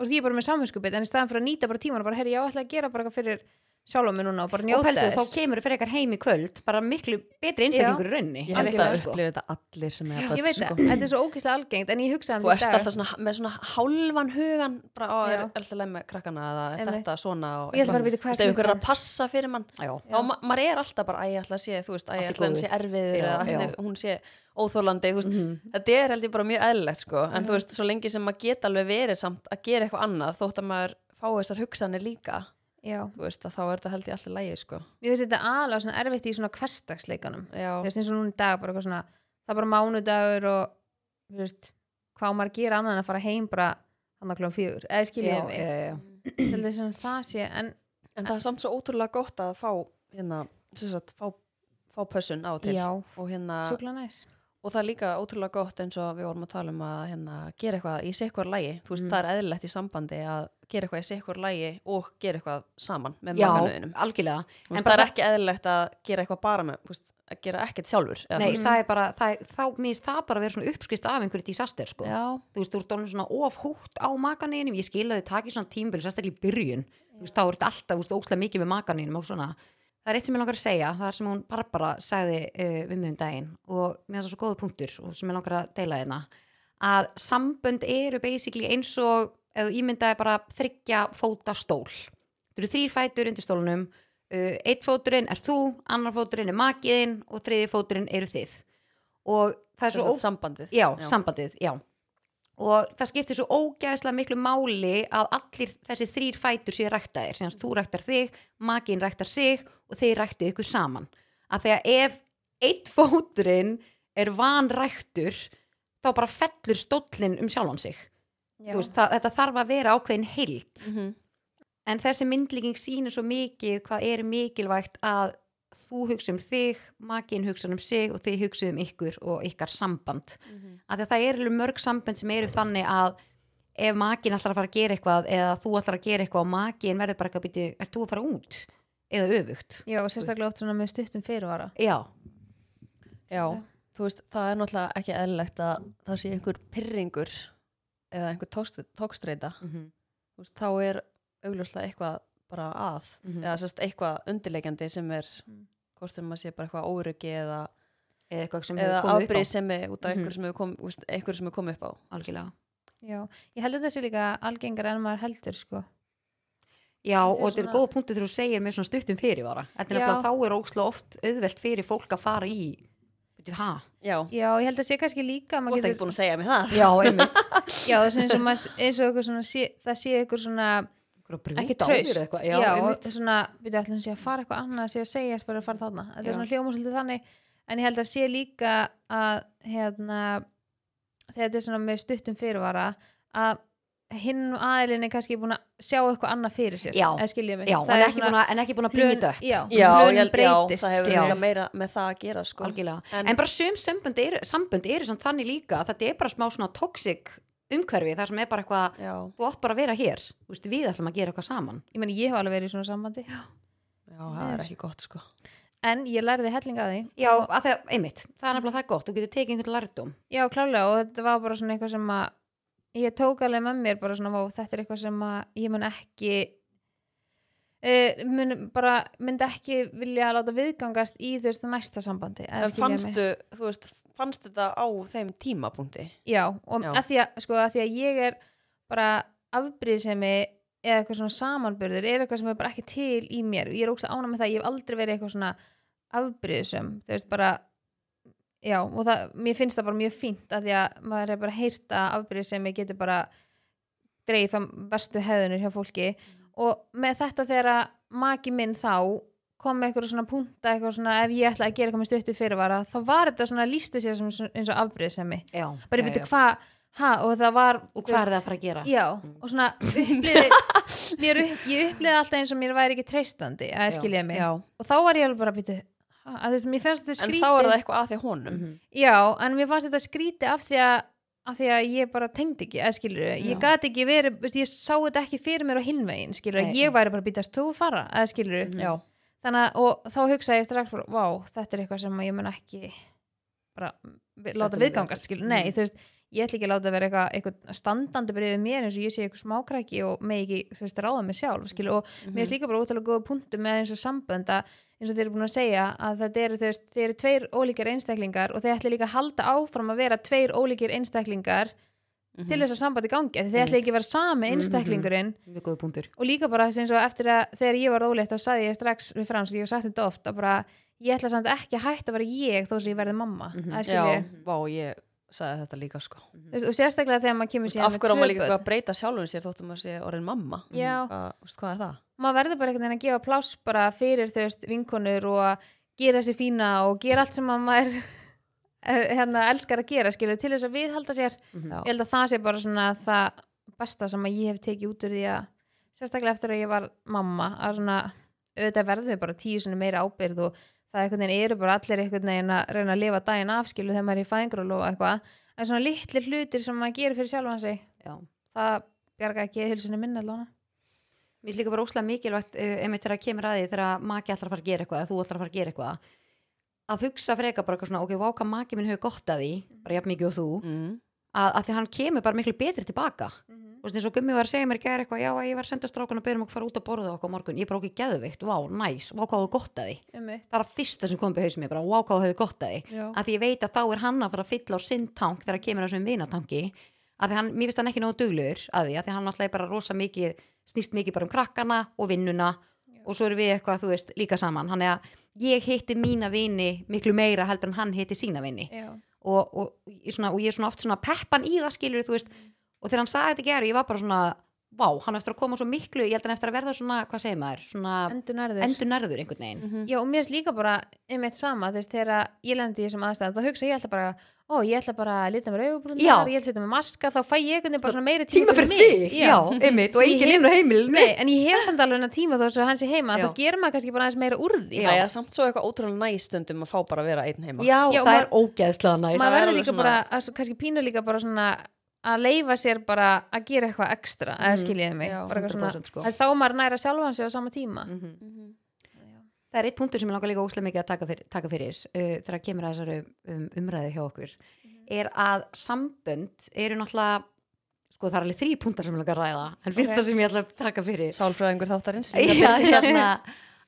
og því ég er bara með samvinskupið, en í staðan fyrir að nýta bara tíman og bara, herri, ég áætla að gera bara eitthvað fyrir sjálfum mér núna og bara og njóta pældu, þá þess kemur fyrir eitthvað heim í kvöld bara miklu betri einstaklingur í rauninni ég held að Algjörlega, sko. upplifa þetta allir sem er ég börn veit sko. það, þetta er svo ógeðslega algengt en ég hugsaði þú um ert þetta í alltaf svona, með svona hálfan hugan bara á er Já. alltaf leið með krakkana eða er Einmitt. þetta svona og Ég ætla eitthvað. bara að vita hvað Þú veist, er ef einhver er að klukkan. passa fyrir mann Já. þá ma maður er alltaf bara, æ, ég ætla að sé þú veist, æ, Allt í ég ætla að hann góðu. sé erfiður Já, eða ætla já. hún sé óþólandi, þú veist Mhm. þetta er held ég bara mjög eðlilegt, sko en þú veist, svo lengi sem maður geta alveg verið samt að gera eitthvað annað, þótt að maður fá þessar hugsanir líka, dag já, þú veist, að þá er þetta held ég alltaf lægi, sko mér finnst þetta aðalega svona erfitt í svona hverstagsleikanum Já, þú veist eins og núna í dag bara eitthvað svona það er bara mánudagur og þú veist, hvað á maður að gera annað en að fara heim bara hann að kljóðum fjögur, eða skiljið Já, mig já, já, já. til þess að það sé, en en það er samt svo ótrúlega gott að fá, hérna, sem sagt, fá, fá pössun á og til Já. og hérna, sjúkla næs og það er líka ótrúlega gott eins og við vorum að tala um að hérna, gera eitthvað í sikkur lægi, þú veist, Mm. það er eðlilegt í sambandi að gera eitthvað í sikkur lægi og gera eitthvað saman með Já, makanöðinum algjörlega þú veist, það er ekki eðlilegt að gera eitthvað bara með, þú veist, að gera ekkert sjálfur eða, Nei, þú veist, það er bara, það er, þá minnst það bara að vera svona uppskrist af einhverju disaster sko. já, þú veist, þú ert alveg svona ofhútt á makaneginum ég skil að þið takir svona tímbil, sérstaklega í byrjun þú veist, þá ert alltaf, þú veist, ókslega mikið með makaneginum og svona, það er eitt sem ég langar að segja það er sem hún eh, Barbara sagði uh, við mig um daginn og mér finnst það svo góðu punktur og sem ég langar að deila hérna að sambönd eru basically eins og eða þú ímyndaði bara þryggja fóta stól þú eru þrýr fætur undir stólunum uh, eitt fóturinn er þú, annar fóturinn er makiðinn og þriði fóturinn eru þið og það er Sem svo sagt sambandið já, sambandið, já og það skiptir svo ógæðslega miklu máli að allir þessi þrýr fætur séu ræktaðir, sem þú ræktar þig makin ræktar sig og þeir ræktið ykkur saman, að þegar ef eitt fóturinn er vanræktur þá bara fellur stóllinn um sjálfan sig Þú veist, það, þetta þarf að vera ákveðin heild Mhm. en þessi myndlíking sýnir svo mikið hvað er mikilvægt að þú hugsa um þig, makin hugsa um sig og þið hugsa um ykkur og ykkar samband Mhm. af því að það eru alveg mörg sambönd sem eru þannig að ef makin ætlar að fara að gera eitthvað eða þú ætlar að gera eitthvað og makin verður bara eitthvað að byrja, er þú að fara út eða öfugt, Já, og sérstaklega oft svona með stuttum fyrirvara já, Já, þú veist, það er náttúrulega ekki eðlilegt að það sé einhver pyrringur eða einhver tókst- tókstreita mm Mhm, -hmm. Þú veist, þá er augljóslega eitthvað bara að Mhm. eða sérst eitthvað undirleikjandi sem er Mm. hvort sem maður sé bara eitthvað óryggi eða, eða eitthvað sem eða hefur komið upp á afbrýð sem er út af Mhm. einhverju sem hefur kom- þú veist, einhverju sem hefur komið upp á algjörlega, Já, ég held að það sé líka algengar en maður heldur sko já Það sé og þetta er svona- góða punktu þegar þú segir með svona stuttum fyrirvara þetta er Já. nefnilega þá er ókslega oft auðvelt fyrir fólk að fara í Bíddu, ha, Já, Já, ég held að sé kannski líka að þú maður ert ekki búin að segja mér það já, einmitt Já, það sé eins og, maður, eins og einhver svona sé, það sé einhver svona Einhver að brjóta ekki á þér traust eitthvað, Já, já, einmitt. og svona, við ætlum sé að fara eitthvað annað sé að segja þess bara að fara þarna Þetta Já. er svona hljóma svolítið þannig en ég held að sé líka að hérna, þegar þetta er svona með stuttum fyrirvara að hinn aðilin er kannski búin að sjá eitthvað annað fyrir sér Já. eða skiljið mig já, Það en er ekki búin að- en ekki búin að bringa þetta upp já, Já, plönin ég held- já, breytist það hefur skilurðu. já. meira með það að gera sko. algjörlega, En- en, bara sum sambönd eru, sambönd eru samt þannig líka að þetta er bara smá svona toxic umhverfi þar sem er bara eitthvað Já, þú átt bara að vera hér, þú veist, við ætlum að gera eitthvað saman ég meni ég hef alveg verið í svona sambandi já, það er ekki gott sko en ég lærði hellinga því já, að það, einmitt, það er nefnilega það gott þú getur tekið einhvern lærdóm já klálega og þetta var bara svona eitthvað sem að ég tók alveg með mér bara svona og þetta er eitthvað sem að ég mun ekki uh, mun bara myndi ekki vilja láta viðgangast í þú veist næsta sambandi eða En skilja mig. fannstu, þú veist, fannstu þetta á þeim tímapunkti? já og Já. að því að sko að því að ég er bara afbrýðisemi eða eitthvað svona samanbörður er eitthvað sem er bara ekki til í mér ég er ógst að ána með það, ég hef aldrei verið eitthvað svona afbrýðisum, þú veist bara já og það, mér finnst það bara mjög fínt að því að maður er bara heyrt að afbrýðisemi getur bara dreif að verstu heðunir hjá fólki og með þetta þegar að maki minn þá kom með eitthvað svona punta eitthvað svona ef ég ætla að gera eitthvað með stuttu fyrirvara þá var þetta svona lísti sér sem eins og afbrýðisemi já, bara já, ég já. veitu hvað ha, og það var og hvað er það að fara Mm. að gera já, og svona upplýði mér upp, ég upplýði alltaf eins og mér væri ekki treystandi að Já, skilja mig og þá var ég alveg bara býtu að þú veist, mér fannst þetta En skríti þá er það eitthvað að því honum Mhm. já, en mér fannst þetta skríti af því að af því að ég bara tengdi ekki, að skilur Já. ég gat ekki verið, veist, ég sá þetta ekki fyrir mér á hinvegin, skilur, Nei, ég nei. væri bara býtast þú að fara, að skilur Mhm. Já, þannig að, og þá hugsaði ég strax bara, vá, þetta er eitthvað sem ég mun ekki bara vi- Sætta láta mig við viðgangast, þetta. skil, nei, Mhm. þú veist ég ætla ekki að láta vera eitthvað, eitthvað standandi bara yfir mér eins og ég sé eitthvað smákræki og með ekki, þú veist, ráða mig sjálf, skil og mér finnst líka bara ótalega góða punktum með eins og sambönd að eins og þeir eru búin að segja að þetta eru, þú veist, þeir eru tveir ólíkir einstaklingar og þeir ætla líka að halda áfram að vera tveir ólíkir einstaklingar Mhm. til þess að sambandi gangi, af því þeir ætla Einmitt. ekki að vera sami Mhm. einstaklingurinn mjög góðu punktur og líka bara eins og eftir að þegar ég var óleitt þá sagði ég strax við frans og ég hef sagt þetta oft að bara ég ætla samt ekki að hætta að vera ég þó sem ég verði mamma mm Mhm. Já, -hmm. vá, ég sagði þetta líka sko veist, og sérstaklega þegar maður kemur síðan Af hverju á maður líka börn. eitthvað að breyta sjálfum sér þóttum maður sé orðin mamma já, Hvað, þú veist, hvað er það? maður verður bara einhvern veginn að gefa pláss bara fyrir þau veist vinkonur og að gera sér fína og gera allt sem að maður eh, hérna, elskar að gera skilur til þess að viðhalda sér Já. ég held að það sé bara svona það besta sem að ég hef tekið út úr því að sérstaklega eftir að ég var mamma að svona auðvitað verður bara tíu sinni meira ábyrð og það einhvern veginn eru bara allir einhvern veginn að reyna að lifa daginn afskilu þegar maður er í fæðingarólofa eitthvað en svona litli hlutir sem maður gerir fyrir sjálfan sig já það bjarga ekki eðhulsinni minn allavega Mér finnst líka bara óslega mikilvægt uh, einmitt þegar að kemur að því þegar að maki ætlar að fara að gera eitthvað eða þú ætlar að fara að gera eitthvað að hugsa freka bara eitthvað svona ok, váka Mhm. maki minn hefur gott að því bara jafn mikið og þú Mm. að, að því hann kemur bara miklu betri tilbaka og eins og gummi var að segja mér í gæri eitthvað já, að ég var að senda strákan og byrjum okkur að fara út að borða okkur á morgun, ég bara okkur geðveikt, vá, næs vá hvað þú gott að því, einmitt. það er að fyrsta sem kom upp í hausum mér bara, vá hvað þú hefur gott að því Já. að því ég veit að þá er hann að fara að fylla á sinn tank þegar að kemur að þessum vinatanki að því hann, mér finnst hann ekki nógu duglur að því að því hann alltaf er bara rosa mikið snýst mikið bara um krakkana og vinnuna og svo eru við eitthvað, þú veist, líka saman hann er að ég hitti mína vini miklu meira heldur en hann hitti sína vini Já. og, og, ég svona, og ég er svona oft svona peppan í það skilur, þú veist og þegar hann sagði þetta gerur, ég var bara svona vá, hann á eftir að koma svo miklu, ég held hann eftir að verða svona, hvað segir maður, svona endur nærður endur nærður einhvern veginn Mhm. Já, og mér er líka bara einmitt sama, þú veist, þegar ég lendi í þessum aðstæðum, þá hugsa ég alltaf bara, ó, ég ætla bara að lita mér augubrúndar, Já. ég ætla að setja mér maska, þá fæ ég einhvern veginn bara svona meiri tíma fyrir þig, já, einmitt og Sem ég enginn hef- inn á heimilinu Nei, en ég hef samt alveg hennar tíma þó svo hans er heima, Já. þá gerir maður kannski bara aðeins meira úr því. Það er samt svo eitthvað ótrúlega næ stundum að fá bara að vera einn heima já, Já, það maður- er ógeðslega næst það Maður er verður alveg líka svona- bara, að, svo- kannski pínur líka bara svona að leifa sér bara að gera eitthvað ekstra, eða Mhm. skiljiði mig. Já, bara eitthvað svona, 100% sko. að þá er maður næra sjálfan sig á sama tíma. Mhm. Mhm. það er eitt punktur sem ég langar líka óslega mikið að taka fyrir, taka fyrir uh, þegar kemur að þessari um, umræði hjá okkur er að sambönd eru náttúrulega sko það er alveg þrý punktar sem ég langar að ræða en fyrsta Ok. sem ég ætla að taka fyrir Sálfræðingur þáttarins já, hérna,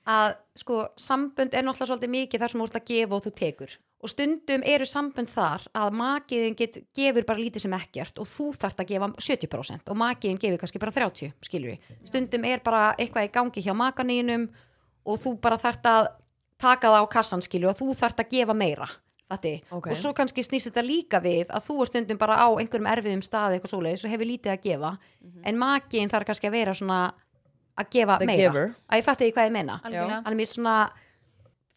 að sko sambönd er náttúrulega svolítið mikið þar sem þú ert að gefa og þú tekur og stundum eru sambönd þar að makiðin get, gefur bara lítið sem ekkert og þú þart að gefa 70% og makiðin gefur kannski bara 30 skilur við, stundum er bara eitthvað í gangi hjá makaninum og þú bara þart að taka það á kassan skilur og þú þart að gefa meira Fatti. Ok. og svo kannski snýst þetta líka við að þú er stundum bara á einhverjum erfiðum staði eitthvað svoleiðis og hefur lítið að gefa en makiðin þarf kannski að vera svona að gefa The meira giver. að ég fatti ekki hvað ég meina Algjörlega. hann er mér svona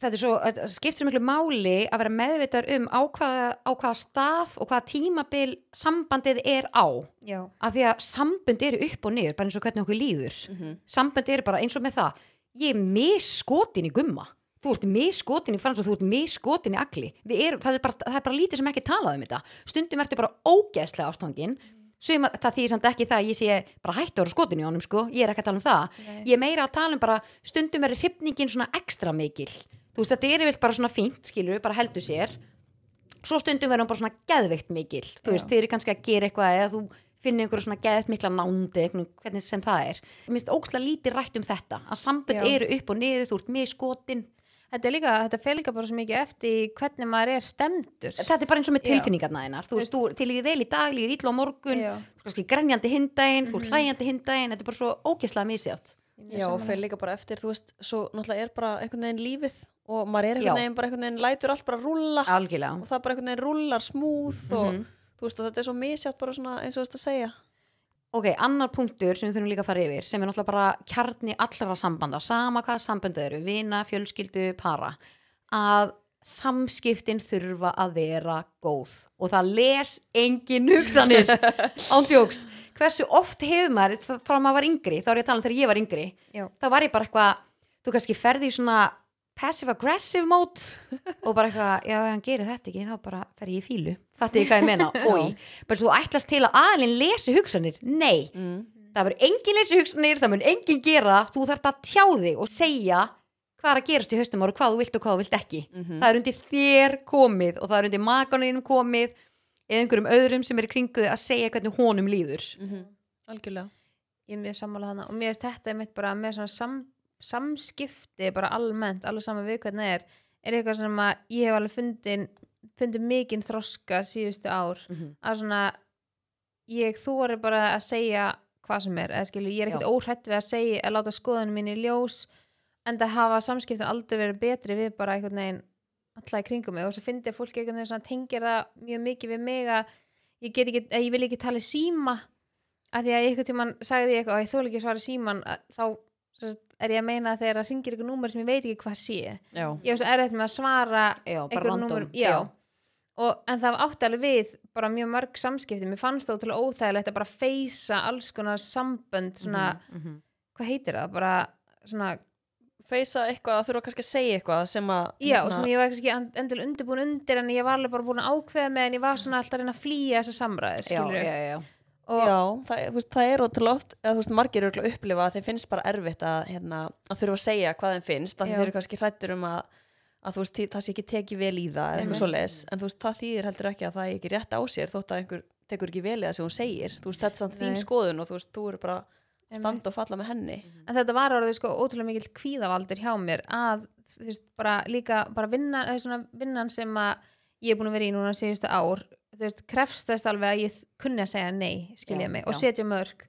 þetta er svo, þetta skiptir svo miklu máli að vera meðvitaður um á hvaða, á hvaða stað og hvaða tímabil sambandið er á Já. af því að sambönd eru upp og niður bara eins og hvernig okkur líður Mhm. sambönd eru bara eins og með það ég er miskotin í gumma þú ert miskotin í frans og þú ert miskotin í agli Við erum, það, er bara, það er bara lítið sem ekki talað um þetta stundum ertu bara ógeðslega ástangin sem að það þýðir samt ekki það að ég sé bara hættu að vera skotin í honum sko, ég er ekki að tala um það Nei. ég er meira að tala um bara stundum er hrifningin svona ekstra mikil þú veist þetta er yfirleitt bara svona fínt skilur, bara heldur sér svo stundum verður hún bara svona geðveikt mikil þú veist, þið eru kannski að gera eitthvað eða þú finnir einhverju svona geðveikt mikla nándi einhvern- hvernig sem það er. Mér finnst ógstlega lítið rætt um þetta, að sambönd Já. eru upp og niður, þú ert með skotin Þetta er líka, þetta fer líka bara svo mikið eftir í hvernig maður er stemdur. þetta er bara eins og með Já. tilfinningarna þeinar þú veist, þú til í vel í dag, líður ítla á morgun Já. þú ert kannski grenjandi hindaginn, þú ert hlæjandi hindaginn þetta er bara svo ógeðslega misjátt Já, og fer líka bara eftir, þú veist, svo náttúrulega er bara einhvern veginn lífið og maður er einhvern Já. veginn bara einhvern veginn, lætur allt bara rúlla algjörlega, og það bara einhvern veginn rúllar smúð og þú veist, og þetta er svo misjátt bara svona eins og þú veist að segja. ok, annar punktur sem við þurfum líka að fara yfir sem er náttúrulega bara kjarni allra sambanda sama hvað sambönd eru, vina, fjölskyldu para, að samskiptin þurfa að vera góð og það les engin hugsanir ándjóks hversu oft hefur maður þ- frá maður var yngri, þá er ég að tala um þegar ég var yngri Já. þá var ég bara eitthvað, þú kannski ferði í svona passive-aggressive mode og bara eitthvað, já, ef hann gerir þetta ekki þá bara fer ég í fílu, fatti ég hvað ég meina Ói, bara svo þú ætlast til að aðlinn lesi hugsanir, nei Mm. það verður engin lesi hugsanir, það mun engin gera það. þú þarft að tjá þig og segja hvað er að gerast í haustum ára, hvað þú vilt og hvað þú vilt ekki Mhm. það er undir þér komið og það er undir makanum komið eða einhverjum öðrum sem er í kringuði að segja hvernig honum líður Mhm. Algjörlega. ég er mjög sammála hana og mér finnst þetta einmitt bara með svona sam, samskipti bara almennt, alveg saman við hvernig er er eitthvað sem að ég hef alveg fundin fundið mikinn þroska síðustu ár Mhm. að svona ég þóri bara að segja hvað sem er, eða skilur, ég er ekkert óhrætt við að segja að láta skoðunum mín í ljós en það hafa samskiptin aldrei verið betri við bara einhvern veginn alla í kringum mig og svo fyndi að fólk einhvern veginn svona tengir það mjög mikið við mig að ég, get ekki, að ég vil ekki tala í síma að því að einhvern tímann sagði ég eitthvað að ég þóla ekki að svara í síman að þá svo sagt, er ég að meina að þegar það ringir eitthvað númer sem ég veit ekki hvað sé ég Já. hef svo erfitt með að svara já, bara einhverjum random númerum já. Og, en það átti alveg við bara mjög mörg samskipti mér fannst það ótrúlega óþægilegt að bara feysa alls konar sambönd svona, Mhm, mhm. hvað heitir það, bara svona, Feisa eitthvað, þurfa kannski að segja eitthvað sem að... já, sem ég var kannski and- endilega undirbúin undir en ég var alveg bara búin að ákveða með en ég var svona alltaf að reyna að flýja þessar samræður, já, skilur já, já, já. og Já, það, er- þú veist, það er ótrúlega oft, eða þú veist, margir eru örugglega að upplifa að þeir finnst bara erfitt að, hérna, að þurfa að segja hvað þeim finnst, að Já. þeir eru kannski hrættur um að, að þú veist, það sé ekki tekið vel í það eða eitthvað Einmitt. svoleiðis, en þú veist, það þýðir heldur ekki að það er ekki rétt á sér þótt að einhver tekur ekki vel í það sem hún segir þú veist, þetta er samt þín Nei. skoðun og þú veist, þú eru bara að Einmitt. standa og falla með henni en þetta var orðið sko ótrúlega mikill kvíðavaldur hjá mér að þú veist, bara líka bara vinna, eða svona vinnan sem að ég er búin að vera í núna síðustu ár þú veist, krefst þess alveg að ég kunni að segja nei, skilja Já, mig, og já. setja mörg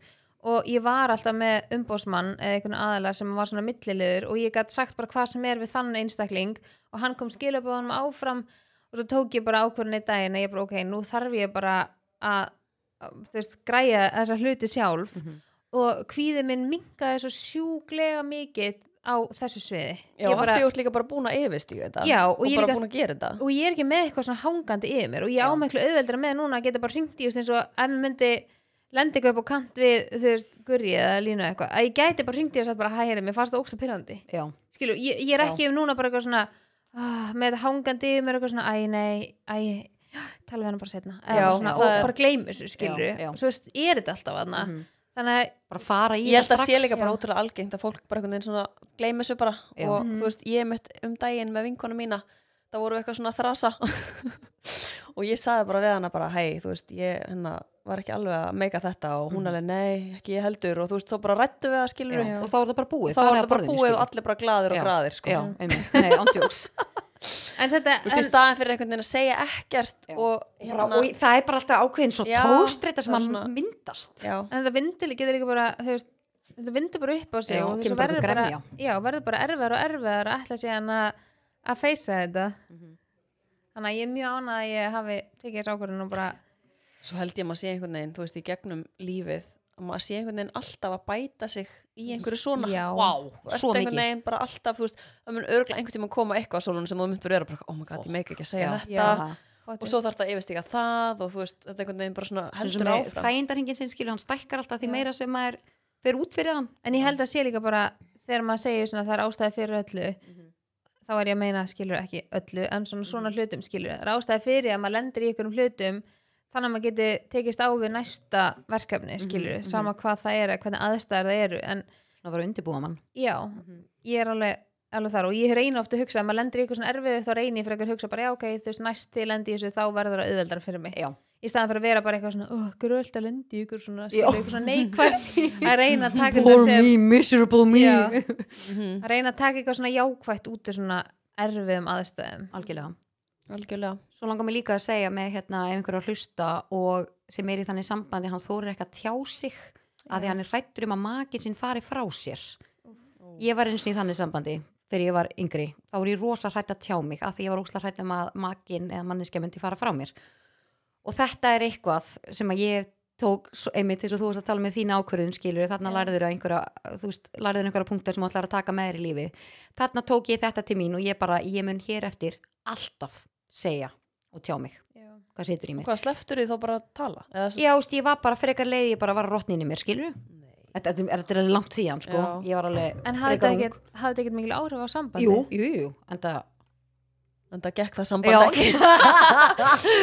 og ég var alltaf með umbósmann eða einhvern aðala sem var svona milliliður og ég gætt sagt bara hvað sem er við þann einstakling og hann kom skilabóðanum áfram og svo tók ég bara ákvörðin í daginn að ég bara ok, nú þarf ég bara að, að þú veist, græja þessa hluti sjálf Mhm. og kvíði minn minkaði svo sjúglega mikið á þessu sviði já, Ég bara, bara, því þú ert líka bara búin að yfirst í þetta Já, og og, ég bara líka- búin að gera þetta og ég er ekki með eitthvað svona hangandi yfir mér og ég ámæklu auðveldra með núna að geta bara hringt í þú veist, eins og ef mér myndi lendi eitthvað upp á kant við þú veist, gurri eða línu eða eitthvað að ég gæti bara hringt í þess að bara hæ, heyrðu, mér fannst það óksla pyrrandi já, skilu, ég, ég er Já. ekki um núna bara eitthvað svona ah, með þetta hangandi yfir mér eitthvað svona, æ, nei, æ tala við hann bara setna Já, svona, og það er- Mhm. bara gleymi þessu, skilur Já, já. svo veist, er þetta alltaf aðna þannig að bara fara í ég held að sé strax. líka bara já. ótrúlega algengt að fólk bara einhvern veginn svona gleymi þessu bara Já. og þú veist, ég mitt um daginn með vinkonu mína þá voru við eitthvað svona að þrasa og ég saði bara við hana bara hei, þú veist, ég hérna var ekki alveg að meika þetta og hún alveg nei, ekki ég heldur og þú veist, þá bara rættu við það skilur Já, og þá er það bara búið þá farið var að það bara borðinu, búið skilur. og allir bara glaðir og Já, graðir sko. já, einmitt, nei, ándjóks en þetta, Þú veist, í staðan fyrir einhvern veginn að segja ekkert Já. og og hérna, í- það er bara alltaf ákveðin svo Já, tóstreita sem það er að svona- myndast já, en þetta vindur getur líka bara þú veist, þetta vindur bara upp á sig Já, og kemur þessu bara verður einhver bara, gremja. já, verður bara erfiðar og erfiðar að ætla sig hann að, að feysa þetta þannig að ég er mjög ánað að ég hafi tekið þessu ákvörðin og bara svo held ég að maður sé einhvern veginn, þú veist, í gegnum lífið að maður sé einhvern veginn alltaf að bæta sig í einhverju svona já, wow, Þú ert svo einhvern mikið veginn bara alltaf, þú veist, það mun örgla einhvern tíma að koma eitthvað á sólunum sem þú myndir vera bara, oh my god, ég meik ekki að segja Já. þetta Já. pottþétt. og svo þarf þetta yfirst ekki að það og þú veist, þetta einhvern veginn bara svona heldur áfram þægindarhingin sinn skilur hann stækkar alltaf því meira sem maður fer út fyrir hann en ég held að sé líka bara þegar maður segir svona það er ástæði fyrir öllu Mhm. þá er ég að meina skilur ekki öllu en svona svona hlutum skilur það er ástæði fyrir að maður lendir í einhverjum hlutum þannig að maður geti tekist á við næsta verkefni skilur sama hvað það er eða hvernig aðstæðar það eru en það var að undirbúa mann já, Mhm. ég er alveg, alveg þar og ég reyni ofta að hugsa, ef maður lendir í eitthvað svona erfið þá reyni ég fyrir að hugsa bara, já ok, þú veist næst til lendi í þessu þá verður það auðveldar fyrir mig já, í staðan fyrir að vera bara eitthvað svona, oh, gröld að lendi í ykkur Já. svona, skilur ykkur svona neikvæð að reyna að taka þetta sem miserable Já. Mhm, að reyna að taka eitthvað svona jákvætt út úr svona erfiðum aðstæðum algjörlega algjörlega svo langar mér líka að segja með hérna ef einhver er að hlusta og sem er í þannig sambandi hann þórir ekki að tjá sig að því hann er hrættur um að makin sinn fari frá sér ég var eins og í þannig sambandi þegar ég var yngri, þá var ég rosa hrætt að tjá mig að því ég var rosa hrætt um að makin eða manneskja myndi fara frá mér og þetta er eitthvað sem að ég tók, svo- einmitt eins og þú varst að tala með þína ákvörðun skilur, þarna Já. lærður einhverja, þú veist, lærður einhverja punktar sem þú ætlar að taka með þér í lífi þarna tók ég þetta til mín og ég bara, ég mun hér eftir alltaf segja og tjá mig, hvað setur í mig Hvað sleftur þið þá bara að tala? Eða, sem- Já, veist, ég var bara frekar leið, ég bara var að rotninni mér, skilur Nei. þetta, þetta, er- þetta er langt síðan, sko Já. ég var alveg en hafði frekar þetta ung. ekkert- hafði þetta ekkert mikil áhrif á sambandi Jú, jú, jú, en það En það gekk það Já. samband ekki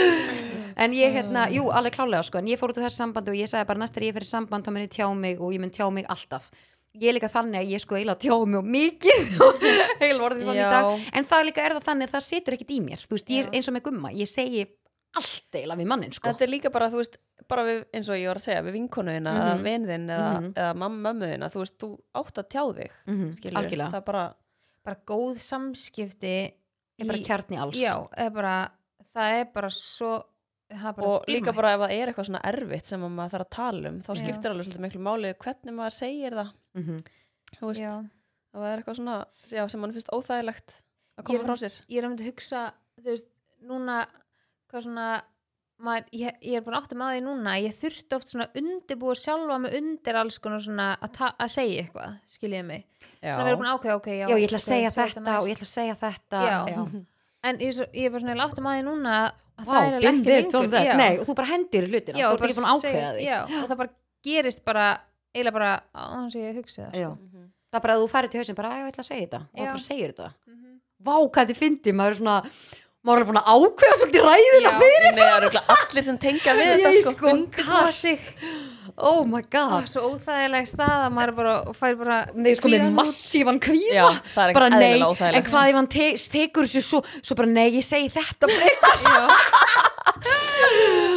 en ég hérna, jú, alveg klálega sko en ég fór út úr þessu sambandi og ég sagði bara næst er ég fyrir samband þá mun ég tjá mig og ég mun tjá mig alltaf ég er líka þannig að ég sko eiginlega tjá mig og mikið heil orðið þannig í dag Já. en það líka er það þannig að það situr ekkit í mér þú veist, ég Já. er eins og með gumma, ég segi allt eiginlega við mannin sko Þetta er líka bara, þú veist, bara við, eins og ég var að segja, við vinkonuðina mm -hmm. eða Mhm. vinðin eða, Mhm. eða mamma, mömmuðina, þú veist, þú átt að tjá þig, mm skilur. algjörlega, Það er bara, bara góð samskipti ég er bara kjarni alls já, er bara, það er bara svo það er bara og líka dýrmætt. bara ef það er eitthvað svona erfitt sem að maður þarf að tala um, þá Já. skiptir alveg svolítið miklu máli hvernig maður segir það, Mhm. þú veist, Já. ef það er eitthvað svona, já, sem mann finnst óþægilegt að koma Ég- frá sér. ég er um að hugsa þú veist, núna hvað svona maður, ég, ég er bara átt með því núna ég þurfti oft svona undirbúið sjálfa mig undir alls konar svona að, ta- að segja eitthvað skiljiði mig, Já, svona verið búin að ákveða okay, já, já, ég ætla að ok, segja segi þetta og ég næst. ætla að segja þetta Já. en ég, er svo, ég er bara svona ég átt með því núna að Vá, been það er eiginlega there, ekki done lengur that. já. Nei, og þú bara hendir í hlutina, Já, þú og ert ekki búin bara að ákveða seg- þig já, og það bara gerist bara eiginlega bara án þess að ég hugsi það Já. sko. Mhm. það er bara að þú færi til hausinn bara, "Æ, ég ætla að segja þetta og það Já. bara segir þetta Mhm. vá, hvað þetta fyndi, maður er svona maður er alveg búin að ákveða svolítið ræðina Já. fyrir Nei, það eru örugglega allir sem tengja við þetta, Ég sko. sko, kast oh my það god er svo óþægileg stað að maður bara og fær bara nei, sko, með kvíðan út. massívan kvíða Já, það er bara ekki nei, eðlilega en óþægilegt. hvað ef hann te tekur þessu svo, svo bara nei, ég segi þetta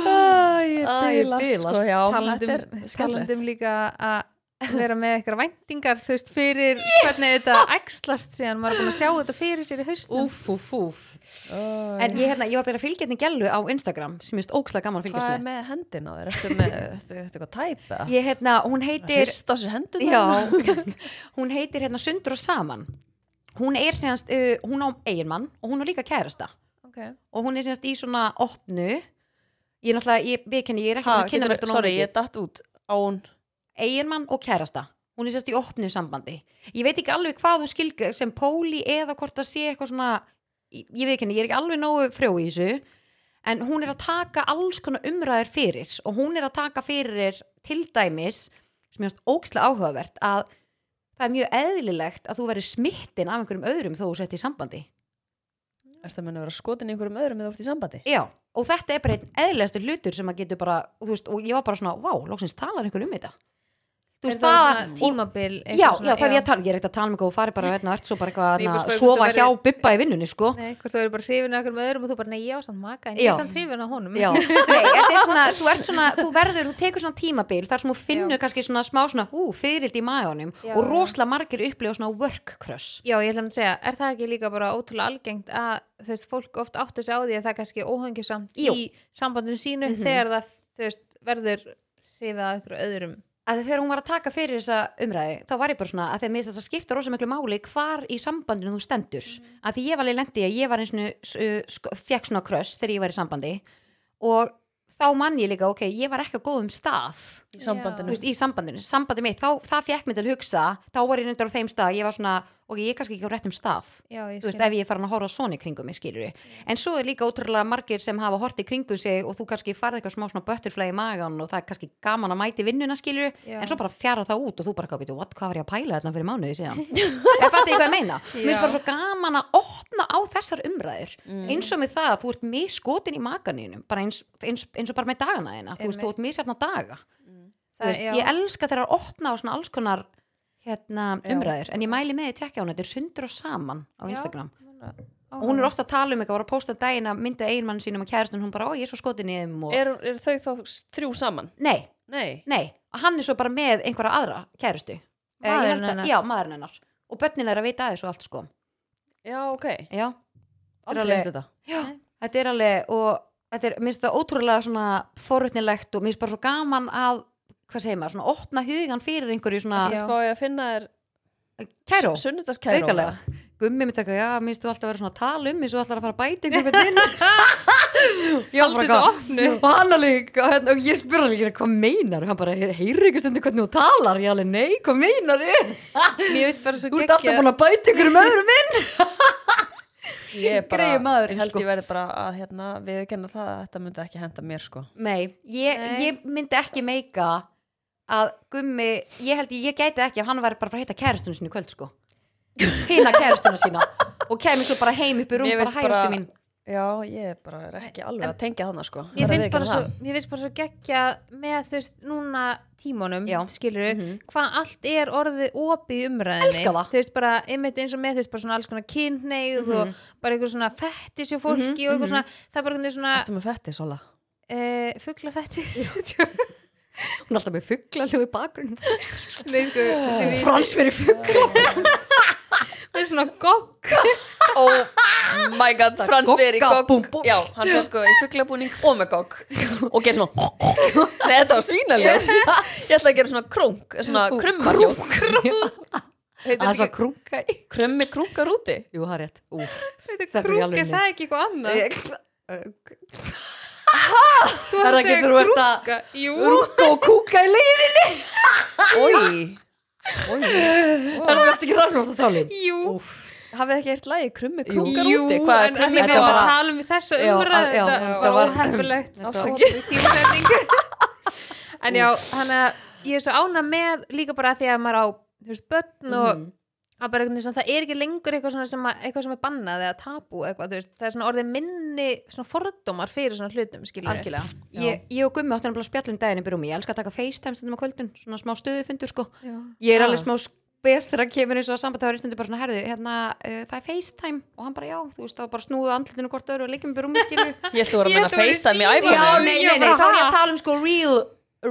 Æ, ég Æ, ég bilast, bilast. sko, já, þetta er talandum, talandum skemmtilegt um- líka að vera með eitthvað væntingar þú veist fyrir hvernig þetta æxlast síðan maður er búin að sjá þetta fyrir sér í haustum Úf, úf, úf Ó, En ég, hérna, ég var bara að fylgja hérna gælu á Instagram sem ég finnst ókslega gaman að hvað fylgjast er með hendina á þér ertu með, ertu ertu eitthvað tæp eða? með Ég hérna, hún Að heitir hrista á sér hendur Já, hún heitir hérna Sundur og Saman Hún er síðanst, uh, hún á eiginmann og hún er líka kærasta okay. og hún er síðanst í svona opnu Ég er náttúrulega, ég viðkenni, ég er ekki ha, búin að kynna mér þetta nógu sorry, mikið. ég datt út án eiginmann og kærasta hún er sérst í opnu sambandi ég veit ekki alveg hvað hún skilgur sem Póli eða hvort það sé eitthvað svona ég, ég veit ekki, ég er ekki alveg nógu frjó í þessu en hún er að taka alls konar umræðir fyrir og hún er að taka fyrir til dæmis sem ég finnst ókslega áhugavert að það er mjög eðlilegt að þú verður smittin af einhverjum öðrum þó þú sett í sambandi ertu að menna að vera skotin í einhverjum öðrum eða úr því sambandi Já, og þetta er bara einn eðlilegasti hlutur sem að getur bara, þú veist, og ég var bara svona vá, loksins talar einhver um þetta Þú er veist, það það, svona og- tímabil eitthvað já, svona- já, það er ég að tala, ég er ekkert að tala um eitthvað og fari bara hérna og ert svo bara eitthvað Nei, ég hérna, bara að spurði hvort sofa þú hjá væri- bubba í vinnunni sko Nei, hvort þú eru bara hrifin af einhverjum öðrum og þú bara, nei, ég á samt maka en ég Já. er samt hrifin af honum já, nei, þetta er svona, þú ert svona þú verður, þú tekur svona tímabil þar sem þú finnur Já. kannski svona smá svona, ú, fyririldi í maðunum Já. og rosalega margir upplifa svona work crush Já, ég ætla að segja, er það ekki líka bara ótrúlega algengt að þú veist, fólk oft áttu sig á því að það er kannski óhengjusamt Jú. í sambandinu sínu Mhm. þegar það, þú veist, verður hrifið af einhverju öðrum að þegar hún var að taka fyrir þessa umræði þá var ég bara svona að þegar mér finnst þess að skipta rosa miklu máli hvar í sambandinu þú stendur Mm. að því ég var alveg lendi að ég var eins og fekk svona crush þegar ég var í sambandi og þá mann ég líka, ok, ég var ekki á góðum stað í þú sambandinu veist, í sambandinu, sambandi mitt þá, það fekk mér til að hugsa, þá var ég reyndar á þeim stað, ég var svona, ok, ég er kannski ekki á réttum stað Já, ég þú veist, ef ég er farin að horfa svona í kringum mig, skilur við, en svo er líka ótrúlega margir sem hafa hort í kringum sig og þú kannski farið eitthvað smá svona butterfly í magan og það er kannski gaman að mæti vinnuna, skilur við Já. en svo bara fjara það út og þú bara kapið what, hvað var ég að pæla þarna fyrir mánuði síðan ég fatti ég hvað ég meina, mér finnst Já. bara svo gaman að opna á þessar umræður Mm. Mm. eins og með það að þú ert miskotin í maganinum bara eins, eins, eins og bara með dagana þeina þú veist, þú ert misjafna daga Þú Mm. það, veist, já, ég elska þegar að opna á svona alls konar hérna, Já. umræður en ég mæli með því að tekja á hún, þetta er sundur og saman á Já. Instagram núna- og hún er ofta að tala um eitthvað, var að posta um daginn að mynda eiginmann sínum og kærastun, hún bara, ó ég er svo skotin í þeim og... er, er þau þá þrjú saman? nei, nei, nei, og hann er svo bara með einhverja aðra kærastu Eh, ég Maðurinn held að- hennar. já, maðurinn hennar og börnin er að vita aðeins og allt sko já ok já, aldrei alveg- eftir þetta já, þetta er alveg og þetta er, minnst það ótrúlega svona forutnilegt og minnst bara svo gaman að hvað segir maður, svona opna hugan fyrir einhverju svona Já. það spá ég að finna er kæró sunnudaskæró aukalega gummi mitt er eitthvað, já, minnst þú alltaf að vera svona að tala um eins og alltaf að fara að bæta ykkur hvernig inn já, Haldið svo opnu. og hann alveg, og hérna- og ég spyr hann líka hvað meinar, hann bara, heyrðu ekki stundu hvernig þú talar, ég alveg, nei, hvað meinar Mér veist bara svo þú ert alltaf búin að bæta ykkur um öðrum inn ég, er bara, Greyið maðurinn, ég held sko. ég verði bara að hérna, við kenna það að þetta myndi ekki henda mér sko nei, ég, Nei. ég myndi ekki meika að gummi, ég held ég, ég gæti ekki ef hann væri bara að hitta kærastunum sinni í kvöld, sko hina kærastuna sína og kemur svo bara heim upp í rúm, Mér bara finnst hægastu mín já, ég er bara er ekki alveg að tengja þarna sko Verð Ég að finnst bara viðurkenna svo, það. ég finnst bara svo geggja með þú veist núna tímunum, Já. skilur Mhm. hvað allt er orðið opið í umræðinni. Elska það. Þú veist bara, einmitt eins og með þú veist bara svona alls konar kynneið Mhm. og bara einhver svona fettis hjá fólki og einhver svona, það er bara einhver svona ertu með fetti svola uh, fuglafettis. hún er alltaf með fugglaljóð í bakgrunn Nei, sko, við- frans fyrir fuggla með svona gogg. oh my god, Frans gogga, fyrir gogg búm, búm. já, hann fyrir sko í fuglabúning og með gogg og gerir svona nei, þetta var svínaljóð ég ætla að gera svona krunk svona krummaljóð að það heitir svo ekki krunga í krummi krunkar úti jú, það er rétt Úff. Þetta Stelpur í krúk er alvörunni. það ekki eitthvað annað? Sko, það Þú er varst að ekki segja þú ert að krúka. Jú, runga og kúka í leiðinni oi Oi. það er verið ekki það sem þú varst að tala um jú. Úff. hafið þið ekki eitt lagi krummi Jú. krunkar Jú, úti en en krummi við Þetta erum að var- tala um í þessu Já, umræðu að- já, þetta þetta var var- óheppilegt Þetta var- Óheppilegt tímasetning. en já, hann að ég er svo ána með líka bara því að maður á þú veist, börn og Mhm. að bara einhvern veginn svona, það er ekki lengur eitthvað, svona sem, að, eitthvað sem er bannað eða tabú eitthvað, þú veist, það er svona orðið minni svona fordómar fyrir svona hlutum skilur algjörlega ég, ég og Gummi áttum nefnilega að spjalla um daginn upp í rúmi ég elska að taka FaceTime stundum á kvöldin svona smá stöðufundur sko Já. ég er Ah. alveg smá sk- best þegar kemur eins og samband þá er einstundi bara svona herðu, hérna, uh, það er FaceTime og hann bara já, þú veist, þá bara snúðu andlutinu hvort öðru og liggjum upp í rúmi skilu já, Ég ætla að vera að Ég menna ætla að vera feista í nei, mér síma. æfanum Já, nei, ég nei, bara, þá er ég ha? að tala um sko real,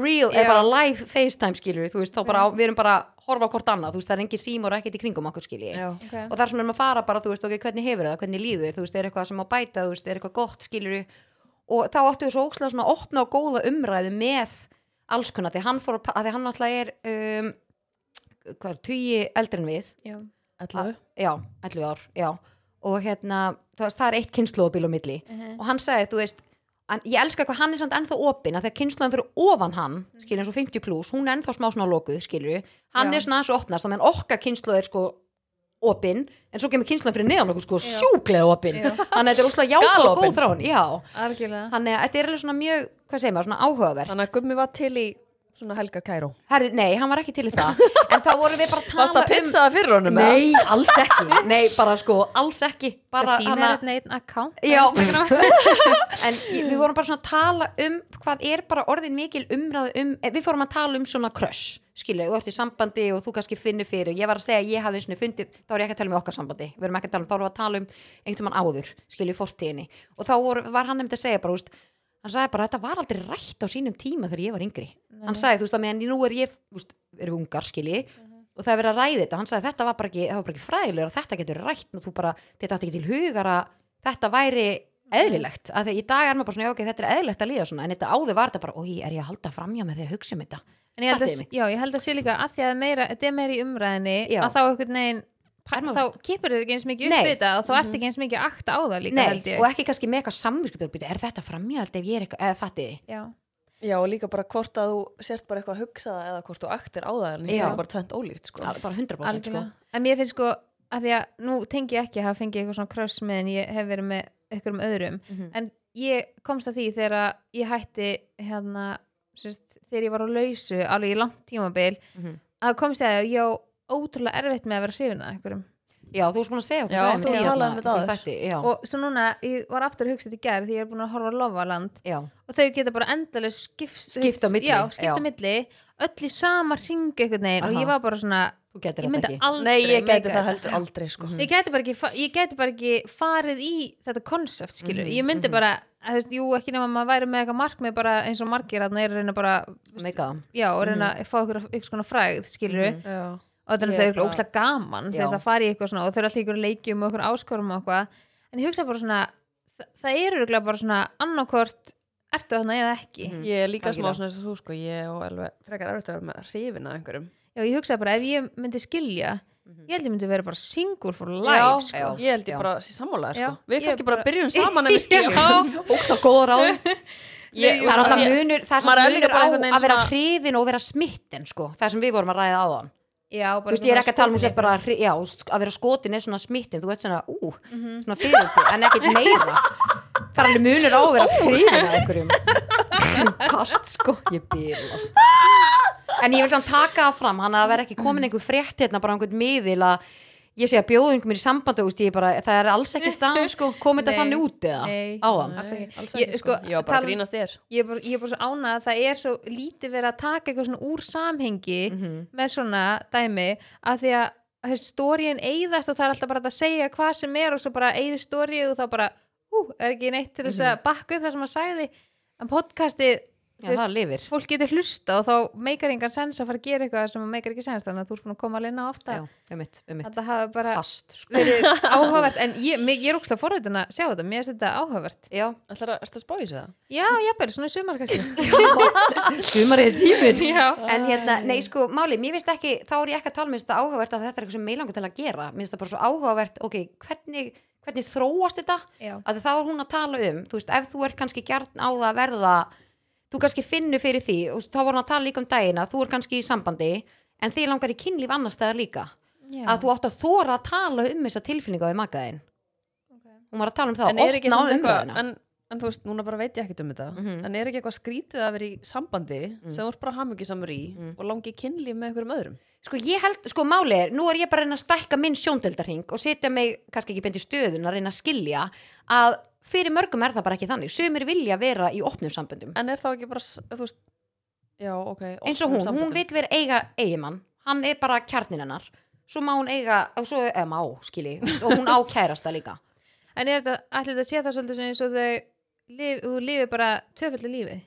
real Já. er bara live FaceTime skilu, þú veist, þá bara, á- við erum bara að horfa á hvort annað, þú veist, það er engin símur ekkert í kringum okkur skilji Já, okay. og þar sem erum að fara bara, þú veist, ok, hvernig hefur það, hvernig líður þér, þú veist, er eitthvað sem á að bæta, þú veist, er eitthvað gott, skilur og þá áttu við svo ókslega svona opna og góða umræðu með alls kunna, því hann fór að, pa- að því hann náttúrulega er um, hvað er, tugi eldri en við, já. ætlaðu já, 11 ár, já og hérna, þú veist, það er eitt kynnslóðbíl á milli og hann sagði, þú veist hann, ég elska hvað hann er samt ennþá opinn af því að kynnslóðan fyrir ofan hann, skilur eins og 50 pluss, hún er ennþá smá svona lokuð, skilur hann Já. er svona aðeins og opnast, þannig að okkar kynnslóð er sko opinn, en svo kemur kynnslóðan fyrir neðan okkur sko Já. sjúklega opinn Já. þannig að þetta er óslega játa og Galopin. góð þráin já, algjörlega þannig að þetta er alveg svona mjög hvað segir maður, svona áhugavert Þannig að gummi var til í svona helgar kæró Herðu, nei, hann var ekki til í það en þá vorum við bara að Varst tala um- að pizza það fyrir honum? eða? Nei, alls ekki, nei, bara sko, alls ekki bara það sýnir hana- einn einn account Já. á Instagram. en ég- við vorum bara svona að tala um hvað er bara orðin mikil umræð um eh, við fórum að tala um svona crush skilu, þú ert í sambandi og þú kannski finnur fyrir ég var að segja að ég hafði einu sinni fundið þá er ég ekki að tala um okkar sambandi, við erum ekki að tala um þá erum við að tala um einhvern mann áður, skilu, fórtíðinni og þá voru, var hann nefndi að segja bara, þú veist hann sagði bara, þetta var aldrei rætt á sínum tíma þegar ég var yngri hann sagði, þú veist, að meðan nú er ég þú veist, erum ungar, skilji og það er verið að ræði þetta, hann sagði, þetta var bara ekki, það var bara ekki fræðilegur að þetta getur verið rætt og þú bara, þetta átti ekki til hugar að þetta væri eðlilegt, af því að í dag er maður bara svona, já, ok, þetta er eðlilegt að líða svona en þetta áður var þetta bara, oi, er ég að halda framjá með því að hugsa um þetta en ég held, að, Fattiði já, ég held að sé líka að því að meira, þetta er meira í umræðinni Já. að þá einhvern veginn pa- Er maður- þá kipur þér ekki eins Nei. mikið Mhm. upp við þetta og þú ert ekki eins mikið að akta á það líka held Nei, ég og ekki kannski með eitthvað samvískupið er þetta framjá ef ég er eitthvað, eða fattiði já, Já, og líka bara hvort að þú sért bara eitthvað að hugsa það eða hvort þú aktir á það en Já. það er bara tvent ólíkt sko. bara 100% sko. algjörlega en mér finnst sko að því að nú tengi ég ekki að hafa fengið eitthvað svona kröss með en ég hef verið með einhverjum öðrum Mhm. en ég komst að því þegar að ég hætti hérna sérst, þegar ég var á lausu alveg í langt tímabil Mhm. að komst ég að því að ég á ótrúlega erfitt með að vera hrifin að einhverjum Já, þú varst búin að segja okkur hérna, Já, dæmi þú í talaðir þarna- um þetta í áður. þætti, já. og svo núna, ég var aftur að hugsa þetta í gerð því ég er búin að horfa að lofa land Já. og þau geta bara endalega skipt, Skipt á milli, já, skipt já. á milli öll í sama ring einhvern veginn og Aha. ég var bara svona Þú getur ég þetta myndi ekki. aldrei Nei, ég meika gæti þetta. það heldur aldrei sko. Mm. ég gæti, bara ekki, fa- ég gæti bara ekki farið í þetta konsept skilur, Mhm, ég myndi mhm. bara að, þú veist, jú, ekki nema maður væri með eitthvað markmið bara eins og margir að er að reyna bara Meika það. já, og reyna Mhm. að fá ykkur, ykkur svona frægð skilur, Já. og þetta er Ég náttúrulega bara- ókslega gaman Já. þess að fara í eitthvað svona og þau eru alltaf í ykkur leikjum og ykkur áskorum og eitthvað en ég hugsa bara svona, það, það eru örugglega bara svona annarkort ertu þannig eða ekki Mhm. Ég er líka smá Algjörlega. svona eins og þú sko, ég og alveg frekar erfitt að vera með hrifin að einhverjum. Já, ég hugsaði bara ef ég myndi skilja ég held ég myndi vera bara single for Já, life sko. Mhm. já. Ég held Já. ég bara sé sammálaðir sko. Já, Við ég kannski bara- bara byrjum saman en við skiljum. Já, Ógst á góð ráð. Ég- Það er alltaf ég- munur, það er maður er samt líka munur á bara einhvern veginn að vera svona- hrifin og vera smitten sko, það sem við vorum að ræða á þann. já bara Þú veist, ég er ekki að tala um sér skotin. bara að, hri- já, sk- að vera skotin er svona smitten, þú veit svona, ú, svona fyrir okkur, en ekkert meira. Það er alveg munur á að vera hrifin að einhverjum. Sem kast sko, ég bílast. En ég vil samt taka það fram, hann að vera ekki komin einhver frétt hérna, bara einhvern miðil að ég sé að bjóða einhver mér í samband og veist, ég bara, það er alls ekki staðan sko, komið þetta Nei, þannig út eða nei. á hann. Alls ekki. Alls Ég- ekki sko, sko. Ég var bara talan- að grínast þér. ég er bara, ég er bara svo ánað að það er svo lítið verið að taka eitthvað svona úr samhengi Mhm. með svona dæmi að því að þessi stóriðin eigðast og það er alltaf bara hægt að segja hvað sem er og svo bara eigði stórið og þá bara ú, er ekki neitt til þess Mhm. að bakka upp það sem að sagði en podcastið Já, það lifir. fólk getur hlusta og þá meikar engan sens að fara að gera eitthvað sem meikar ekki sens þannig að þú ert búin að koma alveg inn á ofta Já, um mitt, um mitt. þetta hafa bara Fast, sko. verið áhugavert en ég, mig, ég er ógst að forritin að sjá þetta mér finnst þetta áhugavert Já, Ætlar að, ertu að spá í þessu það? já, jafnvel, svona í sumar kannski sumariði tímin. já, En hérna, nei sko, máli, mér finnst ekki, þá er ég ekki að tala, um, mér finnst það áhugavert að þetta er eitthvað sem meilangur til að gera. Mér finnst það bara svo áhugavert, ok, hvernig, hvernig þróast þetta? já, Að það var hún að tala um, þú veist, ef þú er kannski gjarn á það að verða, þú kannski finnur fyrir því, og þá var hún að tala líka um dagina, þú er kannski í sambandi, en þið langar í kynlíf annars staðar líka. já. Að þú átt að þóra að tala um þessa tilfinningu á því magaðin. Hún var að tala um það, en er ekki opna á samt eitthvað umræðuna. en, en þú veist, núna bara veit ég ekkert um þetta Mhm. en er ekki eitthvað skrítið að vera í sambandi sem þú ert bara hamingjusamur í Mhm. og langi kynlíf með einhverjum öðrum Sko ég held, sko máli er, nú er ég bara að reyna að stækka minn sjóndeldarhing og setja mig, kannski ekki beint í stöðun að reyna að skilja að fyrir mörgum er það bara ekki þannig, sömur vilja vera í opnum samböndum, en er þá ekki bara, s- þú veist já, ok, um eins og hún, hún vil vera eiga eigimann hann er bara kjarnin hennar svo má hún eiga, og svo, eða má, skilji og hún á kærasta líka en er þetta, allir þetta sé það svolítið sem eins og þau lif, þú lifir bara tvöföldu lífi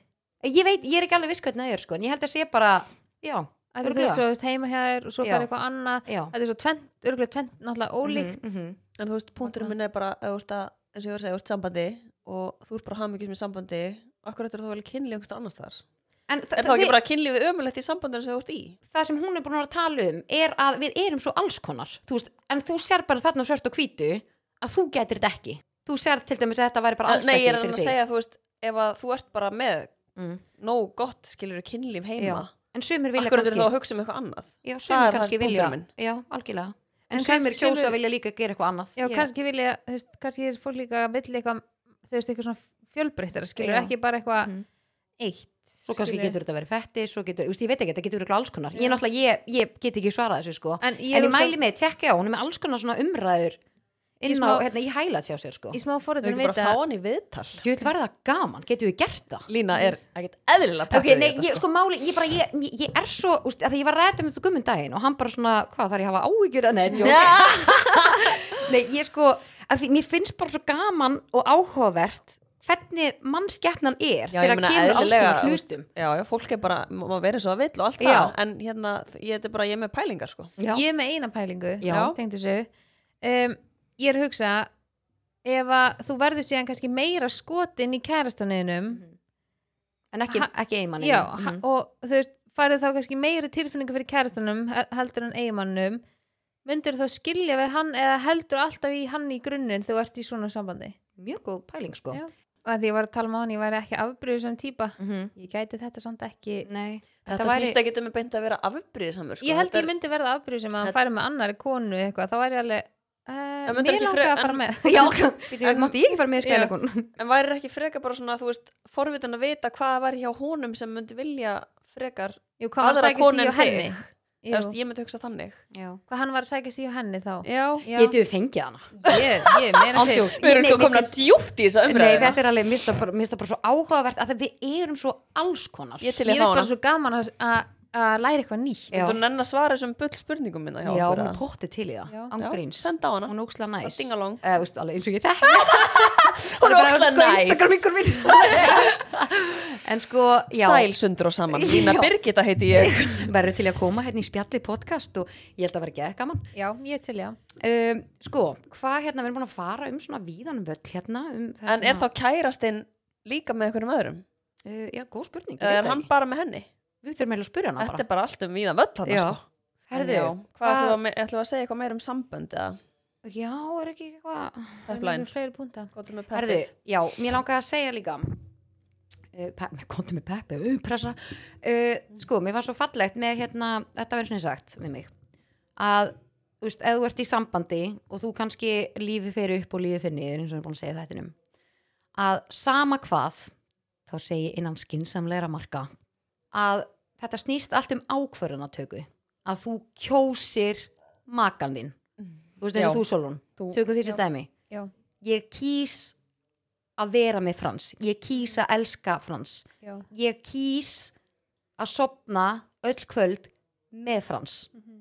ég veit, ég er ekki alveg viss hvernig það er sko, en ég held að sé bara já, allir þú Örugglega. er svo þú veist, heima hjá þér og svo Já. farið eitthvað annað já Mhm, þetta er svo tvent, örgulega tvent náttúrulega ólíkt mm -hmm. En þú veist, punkturinn minn er bara, ef þú ert að, eins og ég var að segja, ef þú ert sambandi og þú ert bara hafmyggjum í sambandi, akkur eftir þú vel kynlíf einhverstað annars þar. en þa Er þá það, ekki bara kynlífið ömulegt í sambandinu sem þú ert í? það sem hún er búin að vera að tala um er að við erum svo alls konar þú veist, en þú sér bara þarna svört og hvítu að þú getur þetta ekki þú sér til dæmis að þetta væri bara alls Nei, ekki ég er að fyrir reyna að þig. segja, þú veist, ef að þú ert bara með mm. nóg gott, skilur kynlíf já. heima, en sumir vilja akkur eftir þá að hugsa um eitthvað annað. Já, Það sumir er það kannski punktur vilja minn. Já, algjörlega En, En sumir kannski kjósa sumir- vilja líka gera eitthvað annað já, kannski vilja, þú veist, kannski er fólk líka að vilja eitthvað, þú veist, eitthvað svona fjölbreyttara skilur, Já. ekki bara eitthvað Mhm. eitt Svo kannski skilurðu. getur þetta verið fetti Svo getur, þú veist, ég veit ekki, þetta getur verið alls konar Já. Ég náttúrulega, ég, ég get ekki svarað þessu sko en ég, En ég var mæli mig, tekja á, hún er með alls konar svona umræður Í Inn á, smá- hérna, í hæla sjá sér sko í smá um Þau forðin ekki bara fá hann í viðtal. Þú vil verða gaman, getur við gert það? Lína er ekkert eðlilega Ok, peppuð í nei, þetta, ég, sko, máli, ég bara, ég, ég- ég er svo, úst, að um því ég var ræðið með gummun daginn og hann bara svona, hvað þarf ég að hafa áhyggjur að neða, Nei, ég sko, að því mér finnst bara svo gaman og áhugavert hvernig mannskeppnan er Já, ég þegar meina, kemur alls konar eðlilega, hlutum. Já, já, fólk er bara, má má vera svo að vill og allt Já. það, en hérna, ég, þetta er bara, ég er með pælingar, sko. Já, ég er með eina pælingu Já. tengd þessu um, ég er að hugsa ef að þú verður síðan kannski meira skotin í kærastaneginum en ekki, Ha- ekki Mhm. einmann. já, mhm. mm. og þú veist farið þá kannski meiri tilfinningu fyrir kærastanum he- heldur en eigimannum myndur þá skilja við hann eða heldur alltaf í hann í grunninn þegar þú ert í svona sambandi Mjög góð pæling, sko. Já. og að því ég var að tala með hann ég væri ekki afbrýðu sem típa Mhm. ég gæti þetta samt ekki Nei, Þetta, þetta þetta væri... snýst ekki um að beinta að vera afbrýðisamur, Mm, sko. ég held Þetta ég er- myndi verða afbrýðu sem að Þetta- hann færi með annari konu eitthvað þá væri ég alveg Uh, En mér myndirðu ekki langar fre- að fara en- með Já, býtu, En- mátti ég ekki fara með í Já. skælagun? En væri ekki frekar bara svona, þú veist, forvitin að vita hvað var hjá honum sem myndi vilja frekar, Jú, hvað hann var Aðra að konu sækjast í en á henni þig. eða Jú, þú veist, ég Eh, myndi hugsa þannig. hvað hann var að sækjast í á henni þá Já. Já. Getur við fengið hana? ég, ég, meira Án til djóks. Við erum Nei, sko mér komin að finnst- djúpt í þessa Nei, umræðina. þetta er alveg, mista bara, mista bara svo áhugavert að við erum svo alls konar. Ég til ég ég veist þá bara hana. svo gaman að að- að læra eitthvað nýtt Já. Þú nenn að svara þessum bull spurningum minna hjá Já, okkur, hún eða? potti til í það, Já. ángríns. Já, senda á hana. Hún er ókslega næs. Ding along. Eh, veist, alveg eins og ég þekki. Hún er ógeðslega sko, næs. Instagram ykkur mín. en sko, já. Sæl sundur og saman. Lína Já. Birgitta heiti ég. Verður til í að koma hérna í spjalli podcast og ég held að vera geða gaman. já, ég til já Um, sko, hvað hérna, við erum búin að fara um svona víðanum völl hérna. Um, En er þá kærastinn líka með einhverjum öðrum? Uh, já, góð spurning. ég Eða veit Eh, er það hann ekki. bara með henni? Við þurfum eiginlega að spurja hana Þetta bara. er bara allt um víðan völl hann, Já. sko. Herðu, Já. Hvað hvað- ætlum við að me- ætlum við að segja eitthvað meir um sambönd eða? Já, er ekki eitthvað... Pepline. fleiri púnta Hvað ætlum við með Herðu, peppið? já, mér langaði að segja líka uh, Konti með Peppi, uh, pressa uh, Sko, mér var svo fallegt með hérna Þetta verður svona sagt við mig Að, þú veist, ef þú ert í sambandi Og þú kannski lífi fer upp og lífi fer niður Eins og ég er búin að segja þetta um Að sama hvað Þá segi ég innan skinsamleira marka Að þetta snýst allt um ákvörðunatöku Að þú kjósir makan þinn Þú veist, eins og Já. þú Solon Þú- Tökum því sem já. dæmi já, ég kýs að vera með Frans ég kýs að elska Frans já, ég kýs að sopna öll kvöld með Frans Mhm.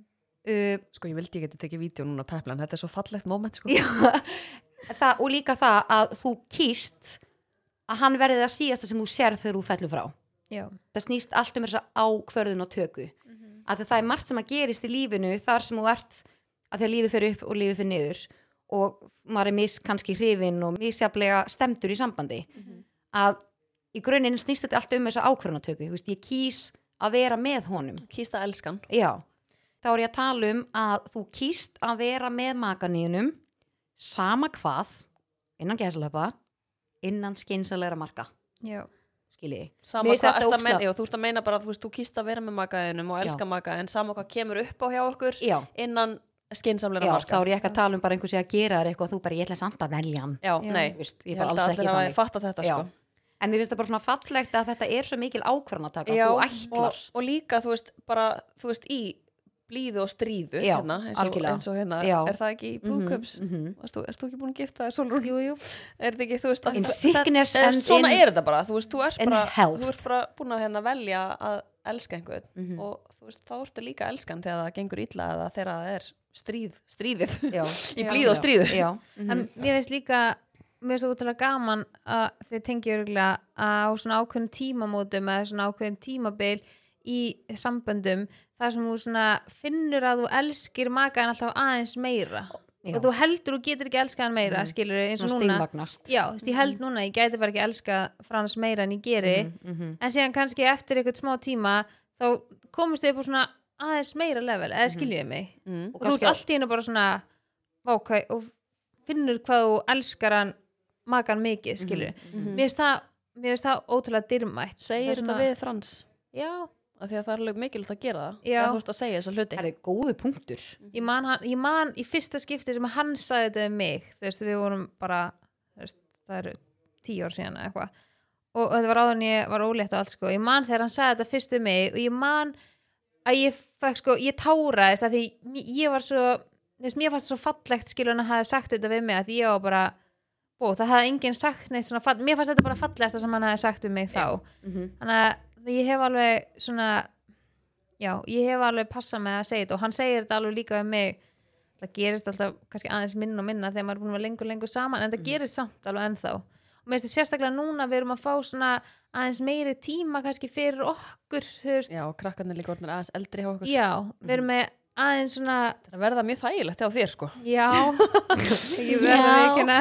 uh, Sko, ég vildi ég geti tekið vídeo núna peplan, þetta er svo fallegt moment, sko. já, það, og líka það að þú kýst að hann verði það síðasta sem þú sér þegar þú fellur frá já það snýst allt um þessa ákvörðun og töku mm að það er margt sem að gerist í lífinu þar sem þú ert að því að lífi fyrir upp og lífi fyrir niður og maður er mis kannski hrifin og misjaflega stemdur í sambandi að í grunninn snýst þetta allt um þessa ákvörðunatöku Þú veist, ég kýs að vera með honum Kýsta elskan. já, þá er ég að tala um að þú kýst að vera með makaníunum sama hvað innan gæslöpa innan skynsalegra marka já, skiljiði Sama Mér finnst hvað þetta ert að meina, ógeðslega- já, þú ert að meina bara að þú, veist, þú kýst að vera með makaðinum og elska makaðin, sama hvað kemur upp á hjá okkur já, innan skinsamleira Já, marka. þá er ég ekki að tala um bara einhversi að gera þér eitthvað þú bara, ég ætla samt að velja hann Já, Já. nei, Þú veist, ég ég bara held að alls ekki allir að þannig fatta þetta, Já. sko. en mér finnst það bara svona fallegt að þetta er svo mikil ákvörðanataka Já, þú ætlar og, og líka þú veist bara, þú veist í blíðu og stríðu Já, hérna, eins, og, algjörlega. eins og hérna, Já. er það ekki í brúðköps mm mhm. þú, ert þú ekki búin að gifta þér Solrún? jú, jú, Er þetta ekki, þú veist, að In það- sickness það- en and svona in- er þetta bara, þú veist, þú ert in bara, health. Mhm. þú ert bara búin að hérna velja að elska einhvern og þú veist, þá ertu líka elskan þegar það gengur illa eða þegar það er stríð, stríðið, Já. í blíð og stríðu. Já, mhm. en mér finnst líka mér finnst það útrúlega gaman að þið tengi örgulega að á svona ákveðum tímamótum eða svona ákveðum tímabil í samböndum þar sem þú svona finnur að þú elskir makaðan alltaf aðeins meira Já. og þú heldur og getur ekki elskaðan meira mm. skilur eins og svona núna steinvagnast Já, þú veist, ég Mm. held núna, ég gæti bara ekki elska Frans meira en ég geri Mm-hmm. mhm. en síðan kannski eftir eitthvað smá tíma þá komist þið upp á svona aðeins meira level, Mm-hmm. eða skiljiði mig Mm. og þú ert allt í hennu bara svona vákvæ og finnur hvað þú elskar hann makan mikið, skilur Mhm. mér finnst það, mér finnst það ótrúlega dyrmætt Segir þetta við Frans, Já, af því að það er alveg mikilvægt að gera það, Já. að þú veist að segja þessa hluti. Það er góðu punktur ég man, hann, ég man í fyrsta skipti sem hann sagði þetta um mig þú veist, við vorum bara þú veist, það eru tíu ár síðan eða eitthvað og, og þetta var áður en ég var ólétt og allt sko ég man þegar hann sagði þetta fyrst um mig og ég man að ég fekk sko ég táraðist að því m- ég var svo þú veist, mér fannst svo fallegt skilur hann að hafa sagt þetta við mig að því ég var bara bó, það hafði enginn sagt neitt svona fall, mér fannst þetta bara fallegasta sem hann hafi sagt um mig þá Mhm. þannig að ég hef alveg svona já, ég hef alveg passað með að segja þetta og hann segir þetta alveg líka um mig það gerist alltaf kannski aðeins minna og minna þegar maður er búin að vera lengur og lengur saman Mm. en það gerist samt alveg ennþá og mér finnst þetta sérstaklega núna við erum að fá svona aðeins meiri tíma kannski fyrir okkur þú veist, Já, og krakkarnir líka orðnir aðeins eldri hjá okkur. Mhm. já við erum með aðeins svona Það verða mjög þægilegt hjá þér, sko. já ég verður Já. ekki hana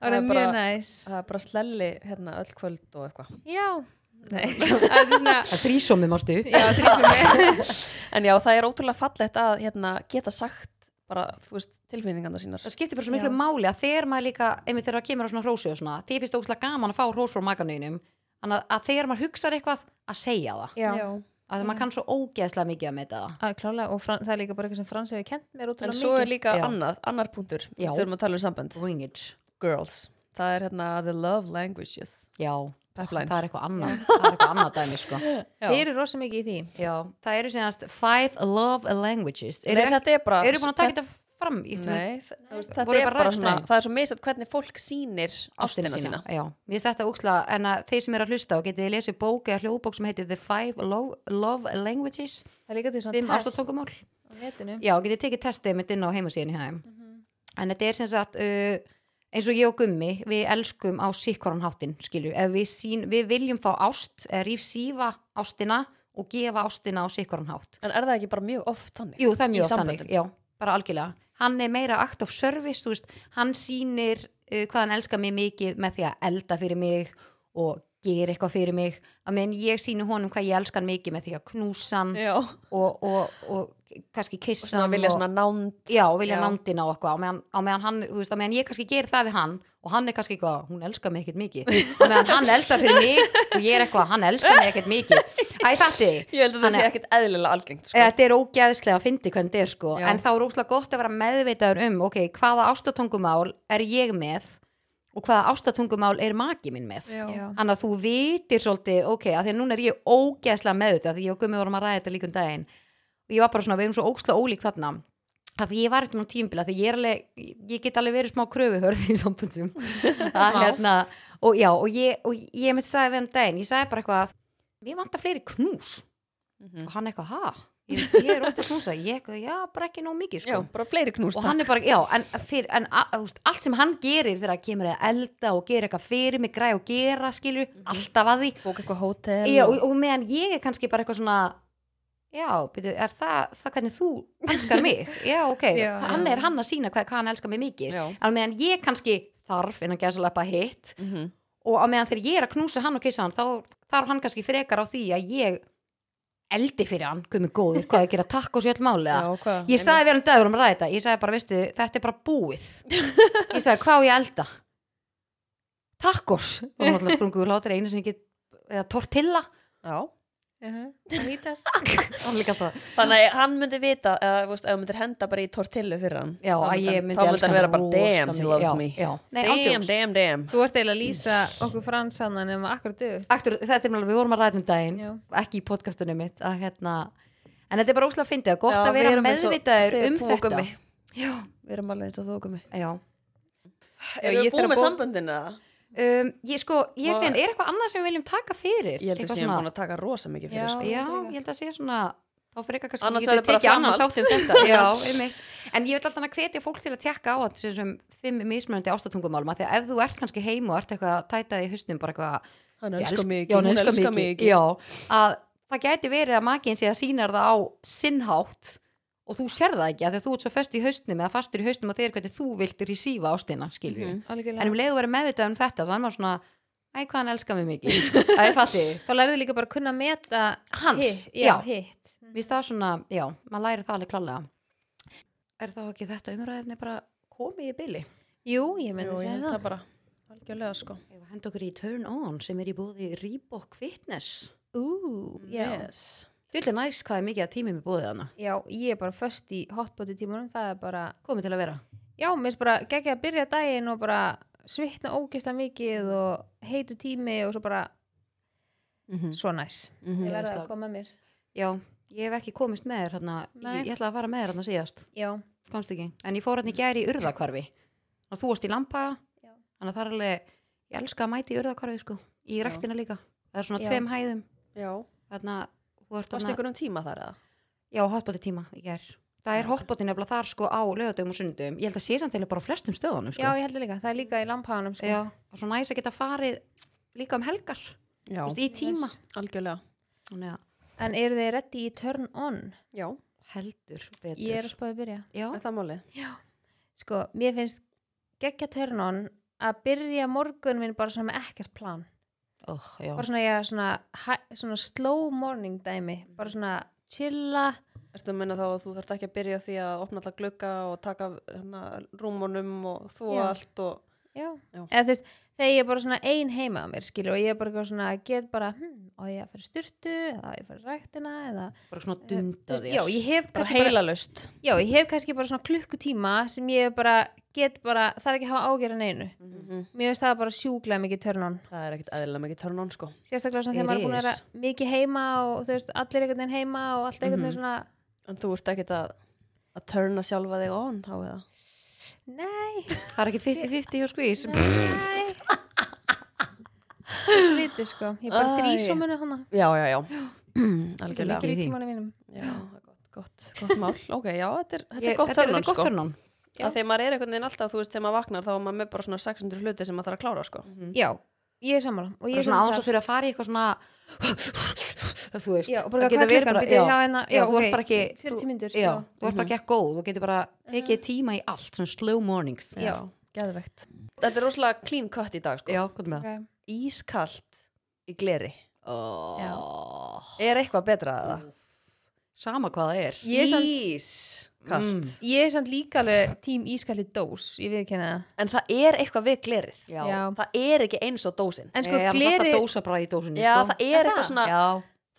Það það er er bara- mjög næs Það er bara slelli hérna öll kvöld og eitthvað. já, nei það er svona Það er þrísómi, mástu já, þrísum með En já, það er ótrúlega fallegt að hérna, geta sagt bara, þú veist, tilfinningarna sínar. það skiptir bara svo miklu máli að þegar maður líka einmitt þegar það kemur á svona hrósu og svona þið finnst óslega gaman að fá hrós frá maganuðinum þannig að- að þegar maður hugsar eitthvað að segja það já, að Mm. það maður kann svo ógeðslega mikið að meita það að klálega og fran, það er líka bara eitthvað sem Frans hefur kent mér En ótrúlega svo er mikið líka Já. annað, annar punktur, Já. við þurfum að tala um sambönd. bring it, Girls, það er hérna the love languages. já Pipeline. það er eitthvað annað, það er eitthvað annað dæmi sko. Já. þeir eru rosa mikið í því já, það eru síðanst five love languages Nei, eru ekki- þetta er bara... eru búin að taka þetta fram í Nei, þa- þú veist, þetta Voru er bara bara, rædd svona, daginn. það er svo misað hvernig fólk sýnir ástina sína. Já, mér finnst þetta úkslega, en að þeir sem eru að hlusta og getið lesið bók eða hljóðbók sem heitir The Five Love, love Languages það er líka til Fimm svona test ástatókumál á netinu Já, getið tekið testið mitt inn á heimasíðinu hjá þeim Mhm. En þetta er sem sagt uh, eins og ég og Gummi, við elskum á sikkoran háttinn, skilju, eða við, sín, við viljum fá ást, eða rífsífa ástina og gefa ástina á sikkoran hátt En er það ekki bara mjög oft þannig? Jú, það er Í mjög oft samböndum. þannig, já, bara algjörlega Hann er meira act of service, þú veist hann sýnir uh, hvað hann elskar mig mikið með því að elda fyrir mig og gera eitthvað fyrir mig að menn ég sýni honum hvað ég elskan mikið með því að knúsa hann Já. Og og, og, og kannski kissa svona hann vilja og- svona nánd. já, og vilja nándina og eitthvað á meðan, á meðan hann, þú veist, á meðan ég kannski gerir það við hann og hann er kannski eitthvað, hún elskar mig ekkert mikið á meðan hann eldar fyrir mig og ég er eitthvað, hann elskar mig ekkert mikið Æ, fatti þig Ég held að það Þannig sé að- ekkit eðlilega algengt, sko. Þetta er ógæðslega að fyndi hvernig þetta er sko Já. en þá er óslega gott að vera meðvitaður um ok, hvaða ástatungumál er ég með og hvaða ástatungumál er maki minn með Já. Þannig að þú vitir svolítið, ok, að því að núna er ég ógeðslega með þetta, því ég og Gummi vorum að ræða þetta líka um daginn. Og ég var bara svona, við erum svo ógeðslega ólík þarna. Að því ég var eitthvað tímbila, því ég er alveg, ég get alveg verið smá kröfuhörð í sambundum. að, hérna, og já, og ég, og ég mitt sagði við um daginn, ég sagði bara eitthvað að við vantar fleiri knús. Mhm. Og hann eitthvað, ha? Ég, veist, ég er ótt að knúsa, ég eitthvað, já, bara ekki nóg mikið, sko Já, bara fleiri knúst. og hann er bara, já, en, fyr, en a, úst, allt sem hann gerir þegar hann kemur að elda og gera eitthvað fyrir mig, græ og gera skilju, Mhm. alltaf að því Bók eitthvað hótel. já, og, og meðan ég er kannski bara eitthvað svona já, byrju, er það, það hvernig þú elskar mig, já, ok Já, það- hann já. er hann að sína hvað, hvað hann elskar mig mikið Já. en meðan ég kannski þarf innan gæðsalappa hitt Mhm. og á meðan þegar ég er að knúsa hann og kissa hann þá þarf hann kannski frekar á því að ég eldi fyrir hann, komið góður hvað að gera takk og sjöld máli Já, hvað? Ég sagði við hann dagur um að ræða þetta Ég sagði bara, veistu, þetta er bara búið Ég sagði, hvað á ég að elda? Tacos Og hún alltaf sprungu úr hlátur einu sem ég get Eða tortilla Já. Uh-huh. það hýtast Hún líka alltaf, Þannig að hann myndi vita eða þú veist, ef þú myndir henda bara í tortillu fyrir hann Já, þá að myndi ég hann- myndi þá myndi hann vera bara rosa damn, she mikið." loves Já, me já. Nei, damn, ándjóks damn, damn þú ert eiginlega að lýsa okkur Frans hann nema akkur döð Aktur, þetta er mjög, við vorum að ræða um daginn Já. Ekki í podcastunum mitt Að hérna en þetta er bara óslega fyndið að gott Já, að við vera erum eins og meðvitaður þið, um þú og þetta Gummi. já, Við erum alveg eins og þú og gummi. já ég Erum við þarf að búin með bó- samböndin eða? um, ég sko, ég Vá. veginn, er eitthvað annað sem við viljum taka fyrir Ég held Eitthvað við séum svona- búin að taka rosa mikið fyrir Já. sko. Já, líka. ég held að sé svona þá fyrir eitthvað kannski Annars ég verður bara tekið annan framhald. þátt um þetta Já, einmitt. en ég vil alltaf að hvetja fólk til að tekka á að þessum fimm mismunandi ástatungumálum því að ef þú ert kannski heim og ert eitthvað að tæta í husnum bara eitthvað að Hann ég elskar elsk- mikið, já, hún elskar mikið. já, að það gæti verið að makiðin sé að sínar það á sinnhátt og þú sér það ekki að því að þú ert svo föst í hausnum eða fastur í hausnum og þeir hvernig þú vilt rýsífa ástina, skilur Mhm. algjörlega. en um leiðu verið meðvitað um þetta þá er maður svona, æ hvað hann elskar mig mikið að ég fatti, þá lærðu líka bara að kunna að meta Hans, hitt, já, já. Mm. hitt. Mér stað svona, já, maður læri það alveg klálega. Er þá ekki þetta umræðefni bara komið í byli? jú, ég Jú, myndi ég segja held það það bara. Algjörlega sko. Ég var henda okkur í Turn On sem er í bóði Reebok Fitness. ú, já. Yes. Fyllir næst hvað er mikið að tímum í bóðið hana. já, ég er bara först í hotbóti tímanum það er bara, Komið til að vera. já, mér finnst bara geggja að byrja daginn og bara svitna ógesta mikið og heitu tími og svo bara Mhm, svo næs ég verði að veist Sko, það. koma með mér Já, ég hef ekki komist með þér hérna. Nei. Ég, ég ætlaði að fara með þér hérna síðast. já, Komst ekki. En ég fór hérna í gæri í urðakvarfi. Og þú varst í lampa. Já. Þannig að það er alveg, ég elska að mæti í urðakvarfi sko. Í Já. rektina líka. Það er svona Já. tveim hæðum. Já. Þannig þú ert Varst þarna- ykkur um tíma þar eða? Já, hotbóti tíma í gær. Það er Já. hotbóti nefnilega þar sko á lögadöfum og sunnudöfum. Ég held að sé samt þeirlega bara á flestum stöðunum sko. já, ég heldur líka, það er líka í lampáðanum sko. Já, og svo næs að geta farið líka um helgar, Já. þú veist, í tíma. Yes. Algjörlega. Þannig að en eru þið reddi í turn on Já. heldur betur. ég er að spáði að byrja Já, Er það málið? sko, mér finnst geggja turn on að byrja morgun minn bara svona með ekkert plan oh, já. bara svona, ég, svona, hæ- svona slow morning dæmi bara svona chilla Ertu að menna þá að þú þarft ekki að byrja á því að opna alltaf glugga og taka hérna, rúmunum og þú Já. allt og... já. Já. eða þú veist, þegar ég er bara svona ein heima á mér skilur og ég er bara eitthvað svona get bara, hm, á ég að fara í sturtu eða á ég að fara í ræktina eða, Bara svona þú dunda veist, þér. já, ég hef Bara kannski bara, heilalaust. já, ég hef kannski bara svona klukkutíma sem ég bara get bara, þarf ekki að hafa ágerðan einu Mm. Mhm. mér finnst það bara sjúklega mikið törnun Það er ekkit eðlilega mikið törn án sko. sérstaklega svona It þegar maður er búin að is. vera mikið heima og þú veist, allir einhvern veginn heima og allt einhvern Mhm. veginn svona En þú ert ekkit að, að törna sjálfa þig on þá eða? nei, Það er ekki 50-50 hjá skvís. nei slítið sko, ég er bara Æ. þrísómunu hana Já, já, já. mikið Algjörlega. í Í því. tímanum mínum Já, gott, gott, gott mál. Ok, já, þetta er, þetta Ég- er gott þetta törnum Þetta er gott sko. törnum. Já. Af því að maður er einhvern veginn alltaf, þú veist, þegar maður vaknar þá er maður með bara svona 600 hluti sem maður þarf að klára sko. já, ég er sammála og ég Bara er svona svolítið áns þar. og fyrir að fara í eitthvað svona, þú veist. Já, og bara Það hvað getur verið klukkan, bara- býtu, já. já, hérna, Já, já, þú ok, ert bara ekki... þú- 40 mínútur, Já, já. þú ert bara ekki ekki góð. Þú getur bara tekið tíma í allt, svona slow mornings. Já. geðvegt. Þetta er rosalega clean cut í dag sko. Já, hvað með það? Ok. Ískalt í gleri. Já. Oh. Er eitthvað betra að það? sama hvað það er Ég er samt- Ískalt. Mm. ég er samt líka alveg tím ískalli dós ég við það En það er eitthvað við glerið. Já. Það er ekki eins og dósin. en sko Nei, það er gleri, alltaf dósa bara í dósunni Já, sko. það er En það? eitthvað svona, já,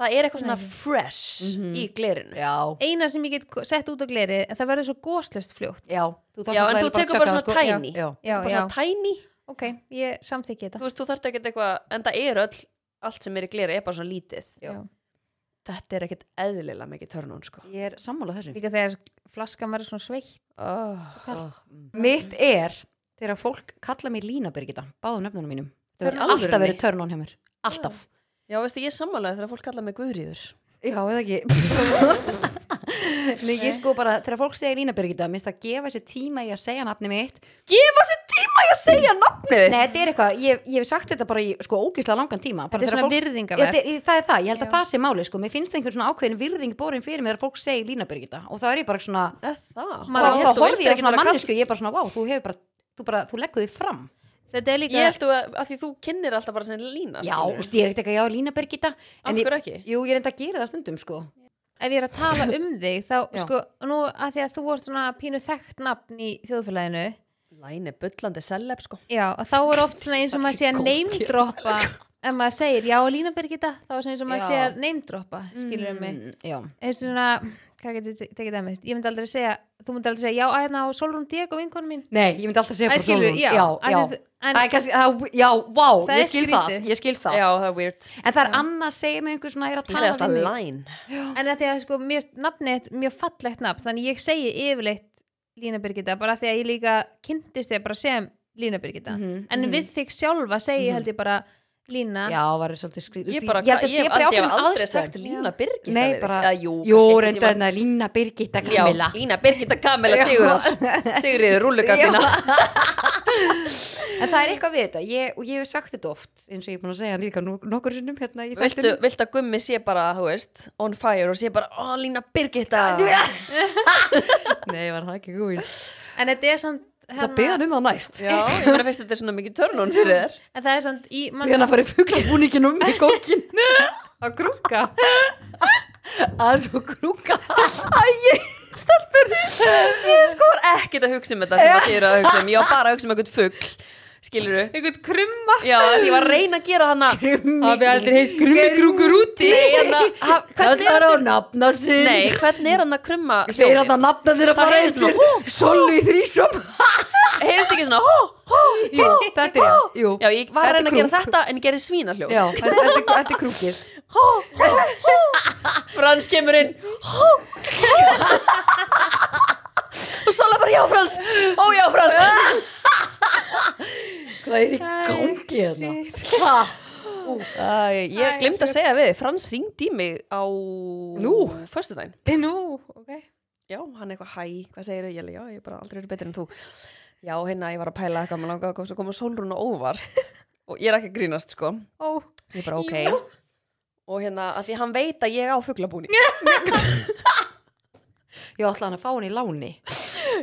það er eitthvað svona Nei. fresh Mhm. í glerinu. já, eina sem ég get ko- sett út á gleri það verður svo góslöst fljótt já þú þarft Já, en náttúrulega þú bara að tekur tjekka bara það, svona sko. tiny. já, já, Bara já, svona tiny. ok, ég samþykki Þú þetta veist, þú þarft ekki eitthvað, en það er öll, allt sem er í gleri er bara svona lítið. já. Já. Þetta er ekkit eðlilega mikið törnun, sko. ég er sammála þessu líka þegar flaskan verður svona sveitt Oh. oh. mitt er þegar fólk kalla mig Lína Birgitta báðum nefnunum mínum það Í verður alltaf alvörunni? verið törn án hjá mér alltaf Já, veistu, ég er sammálaði þegar fólk kalla mig Guðríður. já, eða ekki Nei, ég sko bara, þegar fólk segir Lína Birgitta minnst að gefa sér tíma í að segja nafni mitt Gefa sér tíma í að segja nafnið Nei, þetta er eitthvað, ég, ég hef sagt þetta bara í sko ógislega langan tíma bara þetta er þegar svona fólk- virðingaverð Já, þetta- það er það, ég held að Já. það sé máli sko. mér finnst einhvern svona ákveðin virðing borin fyrir mér að fólk segir Lína Birgitta og það er ég bara svona Er það? Maður- og Ég þá held þú horfi vildir ég á ekki svona vera kall- mannesku ég er bara svona, wow, þú hefur bara þú, bara, þú leggur þig fram þetta er Ég líka held þú að, að því þú kynir alltaf bara sem lína. já, skilurðu. veist, ég er ekkert eitthvað, já, Lína Birgitta en ég, Akkur ekki? jú, ég er enda að gera það stundum sko. ef ég er að tala um þig þá Já. sko, nú að því að þú ert svona pínu þekkt nafn í þjóðfélaginu Læni bullandi selleb sko. já, og þá er oft svona eins og Það er maður sé að góð neymdroppa ef maður segir já, Lína Birgitta þá er svona eins og maður Já. sé að neymdroppa skilur mig mm, já, eins og svona, hvað getur þið tekið það mest ég myndi aldrei segja, þú myndi aldrei segja já, að hérna á Solrún Diego vinkonu mín Nei, ég myndi alltaf segja Æ, bara skilur, Sólrún. já, já, af því já. að þú- en- Æ, kannski, það, já, wow, Það ég er skil skrítið. það Ég skil það já, það er weird En það er Já. annað segja með einhver svona er að ég segi tala alltaf við mig line en að því að sko, mér finnst nafnið eitt mjög fallegt nafn þannig ég segi yfirleitt Lína Birgitta, bara af því að ég líka kynntist þér bara sem Lína Birgitta Mhm, en mhm. við þig sjálfa segi ég held ég bara Lína, Já, það var svolítið skrítið ég, bara, Ég held að hvað- sé hef bara í aldrei- ég hef ákveðnum aldrei sagt aðstæðum. Lína Birgitta Nei, við þig. bara, Eða jú, jú, kannski einhvern reynda tímann. hérna Lína Birgitta Já, Kamila Lína Birgitta Kamila Sigurðar Sigriður rúllugattina En það er eitthvað við þetta ég, Og ég hef sagt þetta oft eins og ég er búin að segja hann líka nok- nokkur sinnum hérna í viltu, þættinum. viltu að gummi sé bara, þú veist on fire og sé bara, ó Lína Birgitta Nei, var það ekki góð en þetta er samt hérna- Það byrða hann um það næst Já, ég meina finnst þetta er svona mikið törnun fyrir þér en það er samt í Við hann að fara í fuglabúninginum í kókin að grúka að svo grúka Æi, stelpur Ég sko var ekkert að hugsa um þetta sem að þið eru að hugsa um Ég var bara að hugsa um einhvern fugl Skilur þú? einhvern krumma Já, ég var að reyna að gera hana Krummi- hérna. Hafið aldrei heitt krummi grúkur úti Nei, hana, haf, Það hvernig er var á hérna þetta? nafna sinn Nei, hvernig er hann að krumma Þeir að það nafna þeirra Það fara heyrist eftir Sollu í þrísom Heyrist ekki svona, hó, hó Jú, þetta er já, jú Já, ég Þetta var að er reyna að gera krúk. þetta en ég gerði svínahljóð Já, þetta þetta- þetta er krúkið Hó, hó, hó Frans kemur inn Hó, hó Og Sola bara, já Frans Ó, já Frans Hvað er í gangi hérna? Hvað? Úf, Æ, Æ, ég glemt að fyrir- segja við, þig, Frans ringdi í mig á Nú? Föstudaginn Í nú, ok Já, hann eitthvað, hæ, hvað segir þau? Ég, alveg, já, ég hef bara aldrei verið betur en þú Já, hérna, ég var að pæla eitthvað, maður langaði að komast að koma sólrun og óvart Og ég er ekki að grínast, sko Ó, Ég bara, ok Jú. Og hérna, að því hann veit að ég á fuglabúning ég ætla hann að fá hann í láni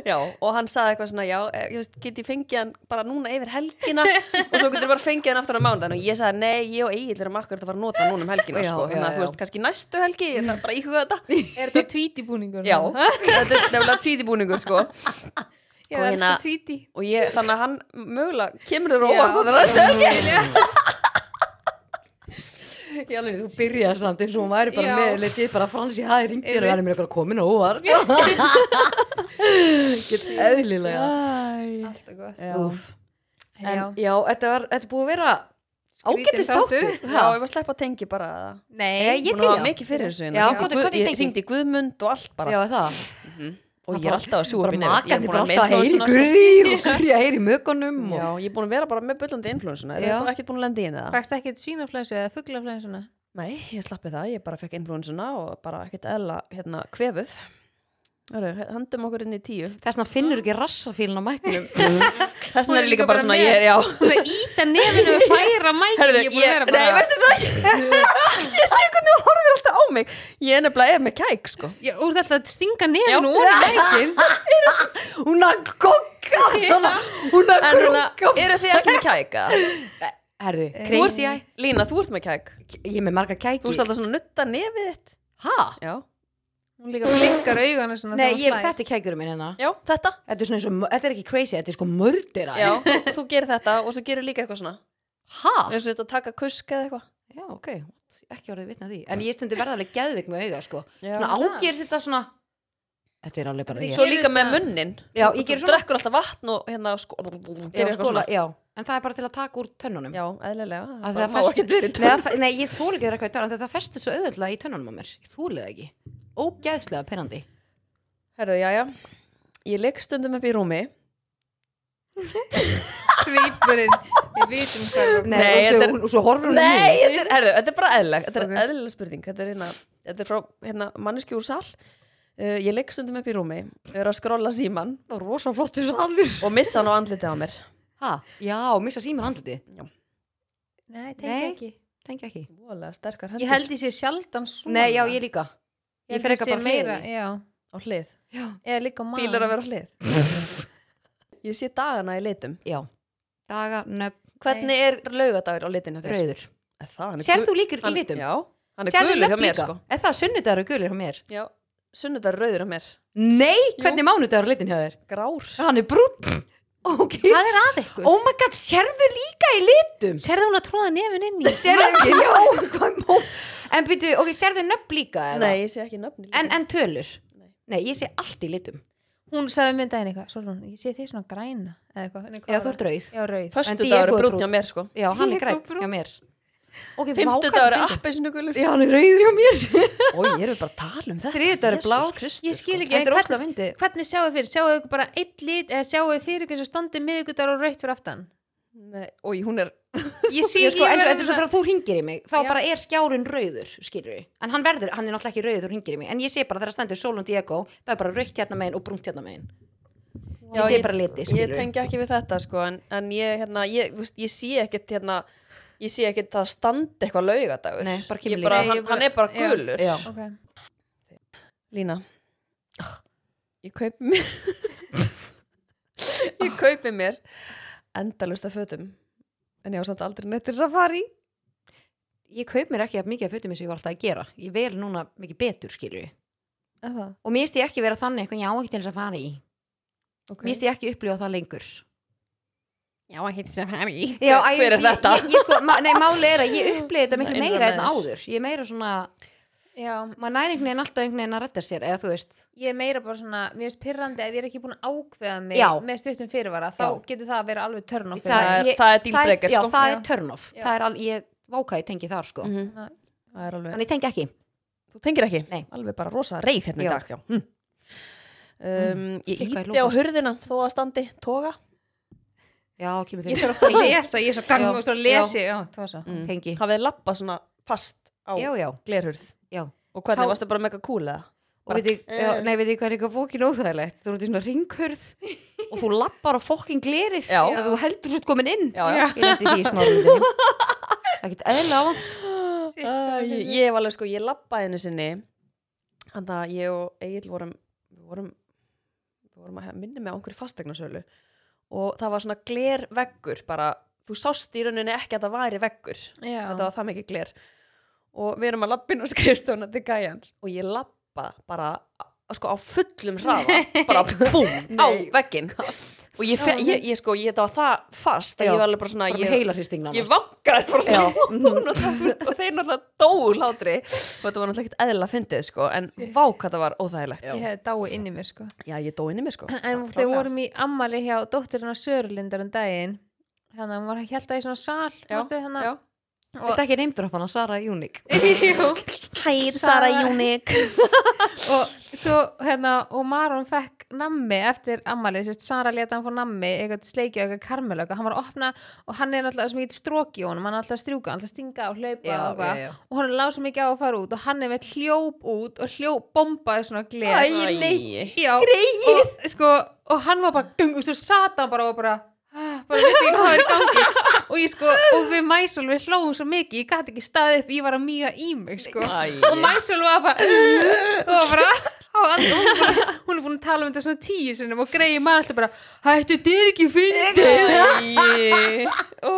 Já, og hann saði eitthvað svona, já, eh, ég veist, get ég fengið hann bara núna yfir helgina og svo getur bara fengið hann aftur á mándan og ég sagði, nei, ég og Egil erum akkur að fara að nota hann núna um helgina, Já, sko, já, þannig að já. þú veist, kannski næstu helgi, ég þarf bara að íhuga þetta er þetta tvíti búningur? Já, þetta er nefnilega tvítibúningur, sko Ég Og er hérna- alltaf tvíti og ég, þannig að hann mögulega kemur þér á Já. óvart þannig að þetta er ekki Ég alveg, þú byrjaði samt eins og hún væri bara Já. með Letið bara fransi, það er ringtir og Einmitt. hann er mér eitthvað komin og óvar Get eðlilega Alltaf gott Já. Úf En En já. já, þetta var, þetta er búið að vera Skrítinn ágættis þáttur. þáttur Já, ég var að sleppa tengi bara að það Eh, Nei, ég- til Búin að hafa í það. mikið fyrir þessu hérna. Já, Ég- hvað- hvað er Guð- Ég tengi? hringdi í Guðmund og allt bara Já, er það Og ég er alltaf að sjúa Bara makandi, bara alltaf að heyri gurri og gurri að heyri mögunum Já, ég er búin að vera bara með bullandi influensuna Ég Já. er bara ekkert búin að lenda í henni það frækst ekki svínaflensu eða fuglaflensuna Nei, ég slappi það, ég bara fekk influensuna og bara ekkert eðla, hérna, kvefuð Hörru, handum okkur inn í tíu Þess vegna finnur ekki rassafílin á mæknum Þess vegna Hún er ég er líka líka bara bara svona, með. ég er, já Þú veist að íta nefinu og færa mækinn Herðu, ég ég, er búin að vera bara nei, veistu það Ég sé hvernig þú horfir alltaf á mig Ég er nefnilega er með kæk, sko Ég úr þetta að stinga Já. nefinu og mækinn Hún að kokka Hún að En hérna, krukka eru þið ekki með kæk? eða? Herðu, Þú crazy eye ert- Lína, þú ert með kæk Ég er með marga Þú kæki ert alltaf svona að nutta nefið þitt Hæ? Já, Hún líka blinkar augana svona Nei, þegar hún ég, hlær. þetta er kækurum minn hérna já, þetta Þetta er svona eins og, þetta er ekki crazy, þetta er sko mördera Já, þú, þú gerir þetta og svo gerir líka eitthvað svona Hæ? eins og þetta að taka kusk eða eitthvað Já, ok, ekki orðið vitna því En ég stundi verðarlega geðvik með auga, sko Já. Svona ágerist þetta svona Þetta er alveg bara Þetta ég Svo Gerir líka með þetta- munnin Já, ég Þú gerir svona. drekkur alltaf vatn og hérna sko, gerir Já, eitthvað skóla, svona já, en það er bara til að taka úr tönnunum Já, eðlilega, Að það það má fest- ekkert verið Nei, það fe- nei, ég um, þóla ekki eitthvað í tönn Það festist svo auðvöldlega í tönnunum á mér Ég þóla það ekki Ógeðslega penandi Herðu, já, já Ég legg stundum upp í rúmi Svipurinn, við vitum hvað er Nei, Nei, og, þetta svo, er- og svo horfum hún Nei, þetta er, herðu, þetta er bara eðlileg Þetta er Ok. eðlileg spurning Þetta er, hérna, þetta er frá hérna, manneski úr sal uh, Ég legg stundum upp í rúmi er að skrolla síman Það er rosa flottu salur og missa hann á andlitið á mér ha, Já, missa símur andliti Nei, tengi Nei. ekki Tengi ekki Voðalega sterkar hendur Ég held ég sé sjaldan svona Nei, já, ég líka Ég Ég held fer ég eitthvað sé bara meira meira Já, á hlið Já, eða líka mann Fílar að vera á hlið Ég sé dagana í litum já Daga, nöfn, Hvernig er laugadagur á litinu þér? rauður Er Það, hann er Sér gu- þú líkur í hann- litum? Já, hann er Sérðu gulur hjá nöfn mér líka? sko Er það sunnudagur og gulir hjá mér? Já, sunnudagur er rauður hjá mér Nei, hvernig er mánudagur og litin hjá þér? Grár Hann er brútt Ok Hvað er að ykkur? Oh my god, sérðu líka í litum? Serðu hún að tróða nefin inn í? Sérðu ekki, já hvað er mó- En byrju, ok, sérðu nöfn líka eða? Nei, ég sé ekki nöfni En, en tölur? Nei, ég sé allt í litum hún sagði myndaðin eitthvað, svo hún, ég sé þið svona græna eða eitthvað, nei, hvað Já, var þú ert það? rauð já, rauð En Föstu Diego dagur er er brúnn. brúnn hjá mér sko Já, hann er Ég er græn brún. hjá mér Ok, Fymtu dagur er appeisnugulur Já, hann er rauður hjá mér Ó, ég er bara að tala um þetta Þriðudagur er Jesus blár. Kristus, Ég sko. skil ekki, en Þetta er hvern- óslega myndi hvernig sjáu þið fyrir, sjáu þið bara eitt lit eða sjáu þið fyrir hversu standi miðugudar og rautt fyrir aftan Nei, ói, hún er ég sé Ég sko, eins og verð þetta er svo þegar þú ringir í mig þá Já. bara er skjárin rauður, skilur við en hann verður, hann er náttúrulega ekki rauður, þú ringir í mig en ég sé bara þegar stendur Solon Diego það er bara raukt hérna megin og brúnt hérna megin ég Já, sé ég- bara liti, ég skilur við tengi ekki við þetta sko en, en ég, hérna, ég, þú veist, ég sé ekkit hérna, ég sé ekkit það standi eitthvað laugadagur Nei, bara Ég kemur bara, hann, lína. Nei, ég bara- hann er bara já, gulur já. Ok. Lína ah, ég kaupi mér ég kaupi mér endalust af fötum en ég á samt aldrei neitt til þess að fara í ég kaup mér ekki að mikið af fötum eins og ég var alltaf að gera ég vel núna mikið betur, skilur við Er það? og mér finnst ég ekki vera þannig eitthvað, já, ekki til þess að fara í Ok. mér finnst ég ekki upplifa það lengur já, ekki til þess að fara í Já, æ, hver ég- er þetta? Ég, ég, sko, ma, nei, máli er að ég uppliði þetta miklu Innra meira en með áður Ég er meira svona, já, maður næri einhvern veginn alltaf einhvern veginn að retta sér eða þú veist, ég er meira bara svona mér finnst pyrrandi ef ég er ekki búin að ákveða mig Já. með stuttum fyrirvara, þá Já. getur það að vera alveg törn á það, fyrir er- ég, það er deal breaker, Já, sko. það Já. er turn off Já. Það er al, ég váka, ég tengi þar sko Mhm. það. það er alveg Þannig ég tengi ekki þú tengir ekki, Nei. alveg bara rosa reyð hérna Já. í dag já. Hm. Um, ég Kikka í íti á lófann. hurðina þó að standi toga Já, kemur ég fyrir þarf ofta að lesa, ég er svo gang Já. og svo lesi já, það var svo mm. Tengi, hafið lappa svona fast á já, já glerhurð Já. og hvernig, Sá- varstu bara mega cool eða? Og veit ég, Eh. já, nei, veit ég hvað er eitthvað fókin óþægilegt Þú eru út í svona ringhurð og þú lappar á fókin glerið Já. að þú heldur svo komin inn Já, já. Ég lendi því í smárundinni Það get eðlilega vant Shit, Ah, það er ég, fyndið. ég var alveg sko, ég lappaði henni sinni þannig að ég og Egil vorum við vorum, við vorum að minna með á einhverju fastegnasölu og það var svona glerveggur bara, þú sást í rauninni ekki að það væri veggur já, þetta var það mikið gler og við erum að lappin og skrifstofna til gæjans og ég lappa bara á- sko á fullum hraða bara búm á Nei. veggin og ég, fe, ég, ég sko, ég, þetta var það fast að Já, ég var alveg bara svona Bara með ég, heilarhristing ég vangaðist bara svona Já. ofan og, það, þú veist, og þeir náttúrulega dóu látri og þetta var náttúrulega ekkert eðla fyndið sko en vá hvað það var óþægilegt ég já, hefði dái inn í mér sko ég dói inn í mig sko en Já, þegar klárlega. vorum í ammali hjá dótturinn á Sörlindar um daginn þannig að hún var held að í svona sal hérna, Já, varstu, hana, já. Þetta ekki neymdrapana, Sara Júnik Jú. Hæ, Sara Júnik og svo hérna og Maron fekk nammi eftir ammali sérst Sara leta hann fór nammi eitthvað sleikja eitthvað karmelöka hann var að opna og hann er náttúrulega sem ekki stróki honum hann er alltaf að strjúka, alltaf að stinga og hlaupa og, eitthvað. og hann lág svo mikið á að fara út og hann er með hljóp út og hljóp bombaði svona gleð Æ, Já, og, sko, og hann var bara gung, og svo sat hann bara og bara ah, bara vissi ekki hvað er í gangi og ég sko, og við Mæsul við hlóðum svo mikið, ég gæti ekki staðið upp ég var að mýja í mig sko og Æ, Mæsul var bara og var bara á all- hún er búin- hún er búin að tala um þetta svona tíu sinnum og greiði maður alltaf bara hættu, þetta er ekki fyndið Æ, ó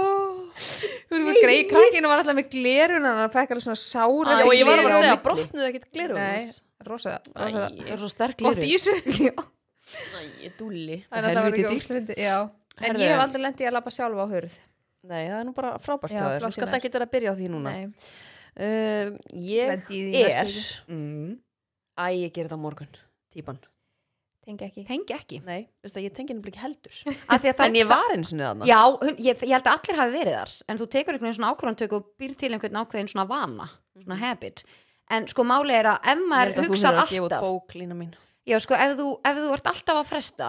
þú veist, bara greiði krakkinu var alltaf með glerun hann fekk alveg svona sára Já, Æ, ég var að gleraugun bara að á segja, milli. brotnuðu ekkert glerum nei, rosa, rosa Það er svo sterk gott í liður þessu Já. Æ, dúlli Þannig að það var Helvíti ekki dýrt. ógslindi, já. En Herðu. ég hef aldrei lendið að lappa sjálfa á hurð. Nei, það er nú bara frábært Já, hjá þér flott Þú skalt hjá þér. ekki vera að byrja á því núna Nei, uh, Ég lendi í því er næstu mm. Æ, ég gerir það á morgun Típan tengi ekki. Tengi ekki Nei, veist það, ég tengi henni ekki heldur Af því að þá- En ég var eins og niður þarna Já, hun- ég, ég held að allir hafi verið þar en þú tekur einhvern veginn svona ákvörðantöku og býr til einhvern ákveðin svona vana svona habit en sko máli er að ef Mhm. Ég held maður að þú hugsar þurfir að gefa út alltaf bók, Lína mín já, sko, ef, þú, ef þú ert alltaf að fresta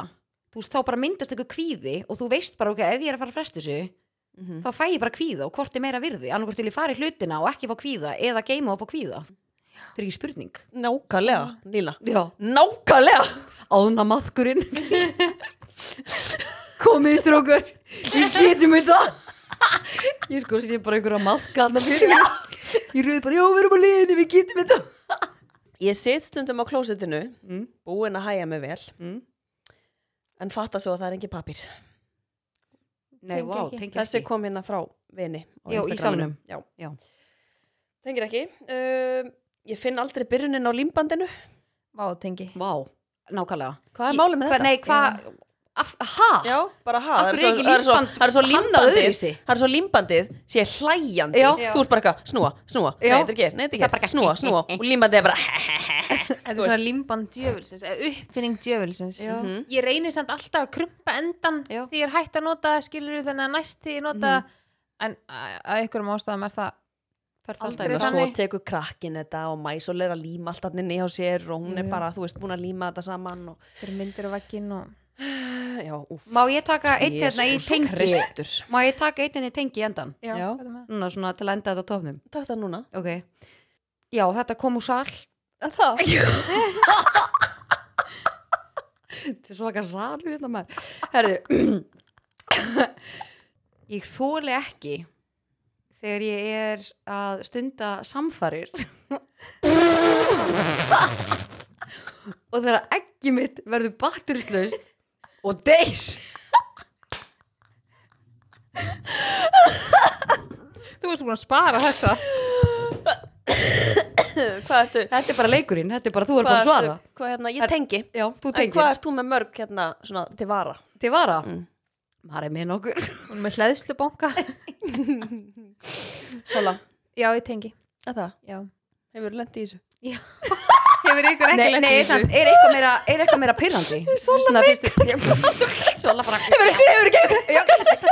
þú veist, þá bara myndast einhver kvíði og þú veist bara, ok, ef ég er að fara að fresta þessu Mhm. þá fæ ég bara kvíða og hvort er meira virði annarkvort til ég fari hlutina og ekki fá kvíða eða geima og fá kvíða Mhm. það er ekki spurning Nákvæmlega, Lína já, Nákvæmlega áðna maðkurinn komið strókur við getum þetta ég sko sé bara einhverja maðka hann fyrir ég rauði bara, já, við erum að liðinni, við getum þetta Ég sit stundum á klósitinu mm, Búin að hæja mig vel mm. En fatta svo að það er engin papír nei, Tengi vá, ekki. tengi Þessi ekki kom hérna frá vini á Já, í Instagraminu. salnum. Já, Já. Tengir ekki um, Ég finn aldrei byrjunin á límbandinu Vá, tengi. vá, nákvæmlega Hvað er Í- málið með Hva, þetta? nei, hvað af, ha? Já, bara ha, Af það er hverju svo, er ekki það er svo, límband- það er svo hann límbandið öðruvísi? það er svo límbandið sé hlæjandi Já. þú ert bara eitthvað, snúa, snúa, Já. nei þetta er ekki, nei Það þetta er er bara ekki eitthvað- snúa, snúa og límbandið er bara Þetta er svona limban djöfulsins, eða uppfinning djöfulsins. Já. Mhm. Ég reynir samt alltaf að krumpa endan Já. því ég er hægt að nota, skilur við þannig að næst því ég nota, en að að einhverjum ástæðum er það Fer það Aldrei alltaf í og vörslu? svo þannig. tekur krakkin þetta og mæsól er að líma alltaf inn í hjá sér og hún Já. er bara, þú veist, búin að líma þetta saman og, fyrir myndir á veggin og... já, úf Má ég taka eitt hérna í Jesús tengi? Kristur. Má ég taka eitt hérna í tengi í endan? Já, Já. hvað er með? Núna svona til að enda þetta á tófnum. Takk það núna Ok. Já, þetta kom úr sal. En það, Þetta er svaka salur hérna maður. Herðu, ég þóli ekki þegar ég er að stunda samfarir og þegar ekki mitt verður batturslaust og deyr. Þú varst búin að spara þessa. hvað ertu Þetta er bara leikurinn, þetta er bara þú er bara hvað að svara. ertu- Hvað hérna, Er- ég tengi Já, þú En tengir. hvað ert þú með mörg hérna, svona, til vara? Til vara. Mm. Maður er með nokkur. Hún er með hlæðslubonga. Sola, Já, ég tengi. en það, Já. hefur lendið í þessu? Hefur ykkur ekki Nei, lent í nei, þessu? samt, er eitthvað meira, er eitthvað meira pirrandi? Svona fyrstu Svona bara Hefur ekki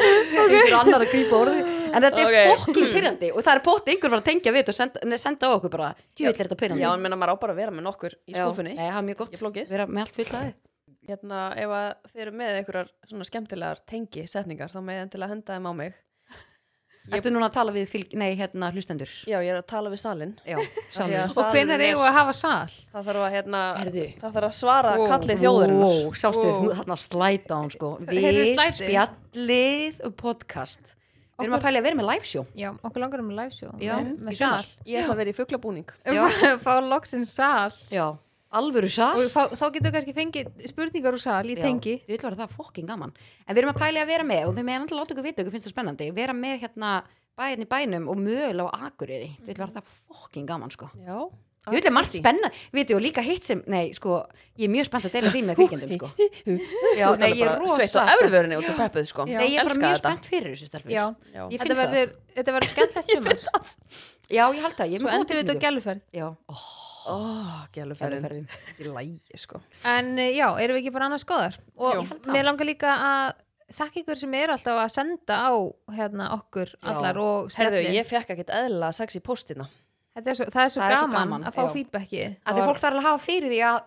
Einhver annar að grípa orði En þetta Ok. Hmm. er fokkin pirrandi Og það er pott einhver var að tengja við þetta og senda, nei, senda á okkur bara Djúvill er þetta pirrandi Já, en meina maður á bara að vera með nokkur í Já, skúfunni Nei, það er mjög gott Ég flókið. Vera með allt fullt aði Hérna, ef að þið eru með einhverjar svona skemmtilegar tengi setningar þá með endilega henda þeim á mig Ertu núna að tala við fylg, nei, hérna, hlustendur Já, ég er að tala við salin Já, Af því sáni að Og hvenær salurinn er- eigum við að hafa sal? Það þarf að, hérna, Herðu. það þarf að svara Wow. kalli þjóðurinnar Ó, Sástu, Ó. hún- þarna slæta hún sko Heyrðu Við slætið? spjallið og podcast Við erum að pæla að vera með live show Já, okkur langar um live show. Já, með, í með sumar. sal. Ég ætla að vera í fuglabúning Já. Fá loksin sal. Já, alvöru sal Og fá, þá getur við kannski fengið spurningar úr sal í tengi. Ég vil vera það fokkin gaman En við erum að pæli að vera með og þau meðan alltaf láta ykkur vita ykkur finnst það spennandi vera með hérna bæðin í bænum og mögulega á akureyri Ég vil vera það fokkin gaman sko Já Ég vil vera margt spenna, viti og líka hitt sem Nei, sko, ég er mjög spennt að deila því með fylgjendum sko Já, Þú ert nei, alveg ég er bara rosa Sveitt á spennt. efruðurinni út sem peppuð, sko Já. Nei, ég er bara Elska mjög þetta. spennt fyrir þessu stelpur Já. Já. Ég Þetta finn það verður, þetta verður skemmtlegt sumar. Já, ég held það, ég er Svo með endur við þetta á gæluferð. Já, ó, Ó, gæluferðin Gæluferðin. Ekki lægi, sko En eh, já, erum við ekki bara annars góðar? Jú. Og mér langar líka að þakka ykkur sem er alltaf að senda á hérna, okkur allar og Herðu, spjallin. ég fekk ekkert eðla sex í póstina Þetta er svo, það er svo Það er svo gaman, gaman, að fá já. feedbackið. að því fólk þarf alveg að hafa fyrir því að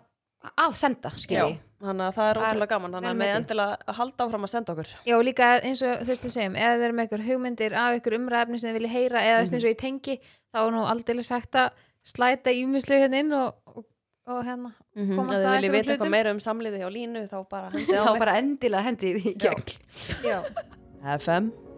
að senda, skilji Þannig að það er Það er ótrúlega gaman Þannig vel að með metið. endilega halda áfram að senda okkur Já, líka eins og þú veist við segjum, eða þeir eru með ykkur hugmyndir af ykkur umræfni sem þeir vilja heyra eða þú veist eins og ég tengi, þá er nú aldrei sagt að slæta ímislu hérna inn og, og, og hérna. Mhm. mm Komast Ef að þið viljið einhverjum vita eitthvað hlutum? meira um samlífi hjá Línu þá bara hendið á Þá mig bara endilega hendi því í gegn Já. FM